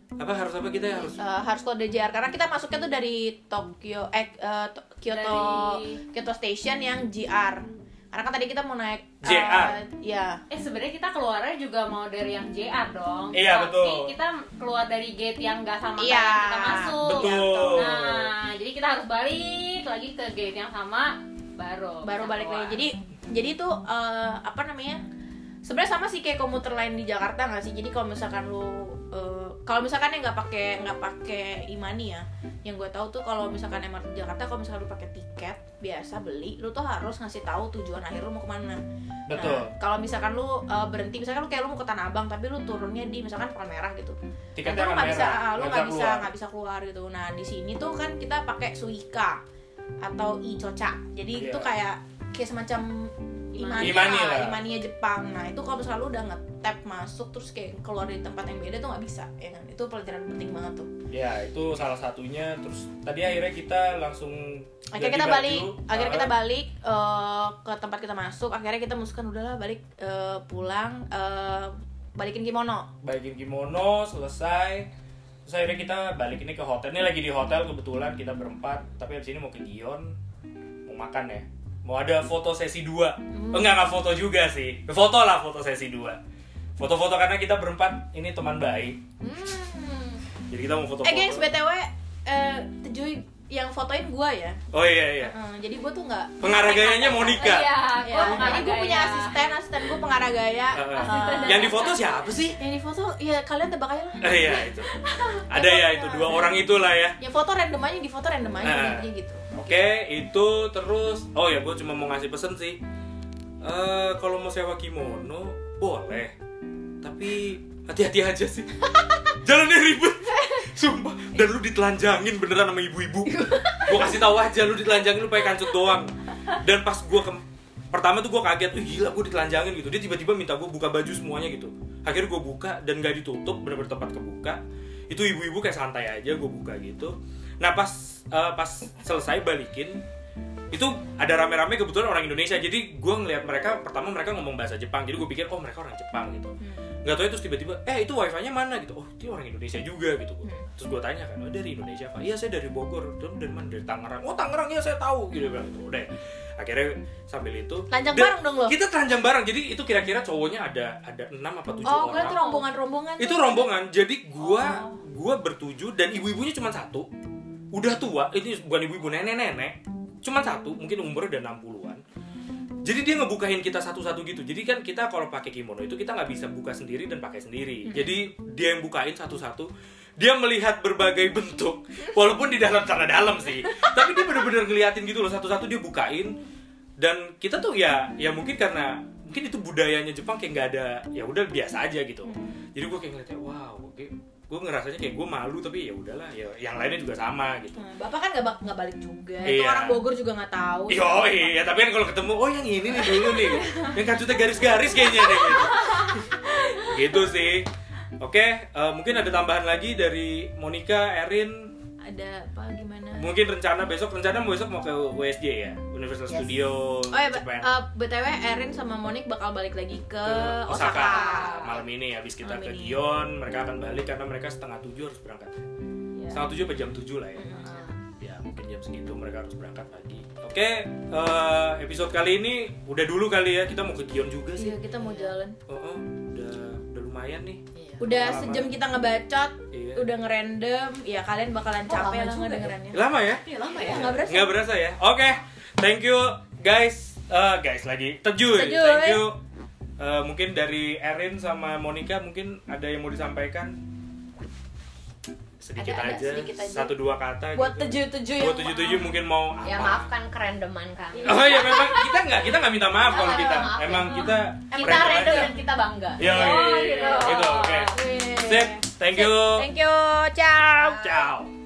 Speaker 2: apa harus apa kita ya? harus
Speaker 1: Eh, harus keluar dari JR karena kita masuknya tuh dari Tokyo eh eh, To- Kyoto
Speaker 3: Dari-
Speaker 1: Kyoto Station yang JR. Karena kan tadi kita mau naik eh,
Speaker 2: JR.
Speaker 1: ya.
Speaker 3: Eh sebenarnya kita keluarnya juga mau dari yang JR dong.
Speaker 2: Iya,
Speaker 3: Tapi
Speaker 2: betul.
Speaker 3: Kita keluar dari gate yang nggak sama kayak
Speaker 1: Iya.
Speaker 3: kita masuk.
Speaker 2: Betul.
Speaker 3: Nah, jadi kita harus balik lagi ke gate yang sama baru
Speaker 1: baru
Speaker 3: bisa
Speaker 1: balik
Speaker 3: keluar.
Speaker 1: lagi. Jadi jadi itu eh, apa namanya? Sebenarnya sama sih kayak komuter lain di Jakarta nggak sih? Jadi kalau misalkan lu eh, kalau misalkan yang nggak pakai nggak pakai imani ya, yang gue tahu tuh kalau misalkan MRT Jakarta kalau misalkan lu pakai tiket biasa beli, lu tuh harus ngasih tahu tujuan akhir lu mau kemana.
Speaker 2: Betul.
Speaker 1: Nah, kalau misalkan lu eh, berhenti, misalkan lu kayak lu mau ke Tanah Abang tapi lu turunnya di misalkan Palmerah gitu.
Speaker 2: kan
Speaker 1: Nanti lu nggak bisa, ah, lu nggak bisa nggak bisa keluar gitu. Nah di sini tuh kan kita pakai Suika atau Icoca. Jadi
Speaker 2: Iya.
Speaker 1: itu kayak kayak semacam imania,
Speaker 3: Imani.
Speaker 2: Imani lah.
Speaker 1: imania Jepang. Nah itu kalau misalnya lu udah ngetap masuk terus kayak keluar dari tempat yang beda tuh nggak bisa, ya kan? Itu pelajaran penting banget tuh.
Speaker 2: ya itu salah satunya terus tadi akhirnya kita langsung Ah,
Speaker 1: Akhirnya kita balik, akhirnya kita balik eh, ke tempat kita masuk. Akhirnya kita muskan udahlah balik eh, pulang, eh, balikin kimono.
Speaker 2: balikin kimono selesai terus akhirnya kita balik ini ke hotel ini lagi di hotel kebetulan kita berempat tapi abis ini mau ke Gion mau makan ya mau ada foto sesi dua enggak enggak foto juga sih foto lah foto sesi dua foto-foto karena kita berempat ini teman baik
Speaker 1: Hmm.
Speaker 2: jadi kita mau foto-foto
Speaker 1: Eh guys, btw, eh Tejuy yang fotoin gua ya.
Speaker 2: oh iya iya
Speaker 1: Heeh, jadi gua tuh nggak.
Speaker 2: pengarah gayanya
Speaker 3: Iya,
Speaker 2: Monica
Speaker 1: Ya,
Speaker 3: gua mengarah
Speaker 1: jadi gua punya
Speaker 3: gaya.
Speaker 1: asisten, asisten gua pengarah gaya.
Speaker 2: Heeh.
Speaker 1: Heeh.
Speaker 2: yang di foto siapa sih
Speaker 1: yang di foto, ya kalian tebak aja lah.
Speaker 2: Eh, iya itu ada ya itu dua orang itulah ya
Speaker 1: Yang foto random aja, yang di foto random aja,
Speaker 2: Nah.
Speaker 1: intinya gitu.
Speaker 2: Oke, itu terus. Oh ya, gue cuma mau ngasih pesen sih. Eh, kalau mau sewa kimono boleh, tapi hati-hati aja sih. Jalannya ribet, sumpah. Dan lu ditelanjangin beneran sama ibu-ibu. Gue kasih tahu aja, lu ditelanjangin lu pakai kancut doang. Dan pas gue ke pertama tuh gue kaget, Wih, gila gue ditelanjangin gitu. Dia tiba-tiba minta gue buka baju semuanya gitu. Akhirnya gue buka dan gak ditutup, bener-bener tempat kebuka. Itu ibu-ibu kayak santai aja gue buka gitu. Nah pas eh, pas selesai balikin itu ada rame-rame kebetulan orang Indonesia jadi gue ngelihat mereka pertama mereka ngomong bahasa Jepang jadi gue pikir oh mereka orang Jepang gitu
Speaker 1: Hmm.
Speaker 2: nggak tahu terus tiba-tiba eh itu wifi nya mana gitu oh itu orang Indonesia juga gitu
Speaker 1: Hmm.
Speaker 2: gua. terus gue tanya kan iya, oh dari Indonesia apa iya saya dari Bogor terus dari mana dari Tangerang oh Tangerang ya saya tahu gitu bilang gitu udah akhirnya sambil itu
Speaker 1: Telanjang
Speaker 2: dan
Speaker 1: bareng dong lo?
Speaker 2: kita telanjang bareng jadi itu kira-kira cowoknya ada ada enam apa tujuh
Speaker 1: Oh, gue
Speaker 2: orang
Speaker 1: tuh rombongan-rombongan.
Speaker 2: itu
Speaker 1: tuh.
Speaker 2: rombongan jadi gua gua bertuju dan ibu-ibunya cuma satu udah tua itu bukan ibu-ibu nenek-nenek cuma satu mungkin umurnya udah 60-an jadi dia ngebukain kita satu-satu gitu jadi kan kita kalau pakai kimono itu kita nggak bisa buka sendiri dan pakai sendiri jadi dia yang bukain satu-satu dia melihat berbagai bentuk walaupun di dalam tanah dalam sih tapi dia bener-bener ngeliatin gitu loh satu-satu dia bukain dan kita tuh ya ya mungkin karena mungkin itu budayanya Jepang kayak nggak ada ya udah biasa aja gitu jadi gue kayak ngeliatnya wow gue ngerasanya kayak gue malu tapi ya udahlah ya yang lainnya juga sama gitu
Speaker 1: Hmm, Bapak kan gak, bak- gak balik juga. Itu
Speaker 2: Iya.
Speaker 1: orang Bogor juga gak tahu.
Speaker 2: Yo, iya, tapi kan kalau ketemu, oh yang ini nih dulu nih, yang kacutnya garis-garis kayaknya nih. gitu sih. Oke, eh, mungkin ada tambahan lagi dari Monica, Erin.
Speaker 1: Ada apa gimana?
Speaker 2: Mungkin rencana besok, rencana mau besok mau ke USJ ya, Universal
Speaker 4: Yes.
Speaker 2: Studio
Speaker 1: Oh ya,
Speaker 2: Japan.
Speaker 1: BTW Erin sama Monik bakal balik lagi ke,
Speaker 2: Ke
Speaker 1: Osaka.
Speaker 2: Osaka. malam ini habis kita
Speaker 1: Malam
Speaker 2: ke
Speaker 1: ini.
Speaker 2: Gion mereka akan balik karena mereka setengah tujuh harus berangkat
Speaker 1: Iya.
Speaker 2: setengah tujuh apa jam tujuh lah ya
Speaker 1: Heeh.
Speaker 2: ya mungkin jam segitu mereka harus berangkat lagi oke eh, episode kali ini udah dulu kali ya kita mau ke Gion juga sih
Speaker 1: Iya, kita mau jalan.
Speaker 2: Oh, oh, udah udah lumayan nih.
Speaker 1: Udah
Speaker 2: Lama.
Speaker 1: sejam kita ngebacot,
Speaker 2: Iya.
Speaker 1: udah ngerandom. Ya kalian bakalan
Speaker 4: Oh, lama
Speaker 1: capek lah
Speaker 4: juga
Speaker 1: ngedengerannya.
Speaker 2: Lama ya?
Speaker 4: Iya lama
Speaker 1: Ya, nggak berasa.
Speaker 2: Nggak berasa ya? Oke, thank you guys. Eh, guys lagi.
Speaker 1: Tejuy.
Speaker 2: Tejuy. Thank you. Eh, mungkin dari Erin sama Monica mungkin ada yang mau disampaikan sedikit,
Speaker 4: Ada- ada
Speaker 2: aja.
Speaker 4: sedikit aja.
Speaker 2: satu dua kata
Speaker 1: Buat
Speaker 2: gitu.
Speaker 1: tujuh-tujuh yang
Speaker 2: buat tujuh tujuh
Speaker 1: maaf.
Speaker 2: mungkin mau apa?
Speaker 4: Ya maafkan kerendeman kami.
Speaker 2: Oh ya memang kita nggak kita nggak minta maaf kalau
Speaker 4: Nggak,
Speaker 2: kita
Speaker 4: nggak, maaf.
Speaker 2: emang kita
Speaker 4: Kita
Speaker 2: random
Speaker 4: random
Speaker 2: aja.
Speaker 4: dan kita bangga.
Speaker 2: Yo,
Speaker 3: Oh,
Speaker 2: iya,
Speaker 3: gitu.
Speaker 2: gitu, oke.
Speaker 1: Wih.
Speaker 2: Sip, thank you.
Speaker 1: Thank you. Ciao.
Speaker 2: Ciao.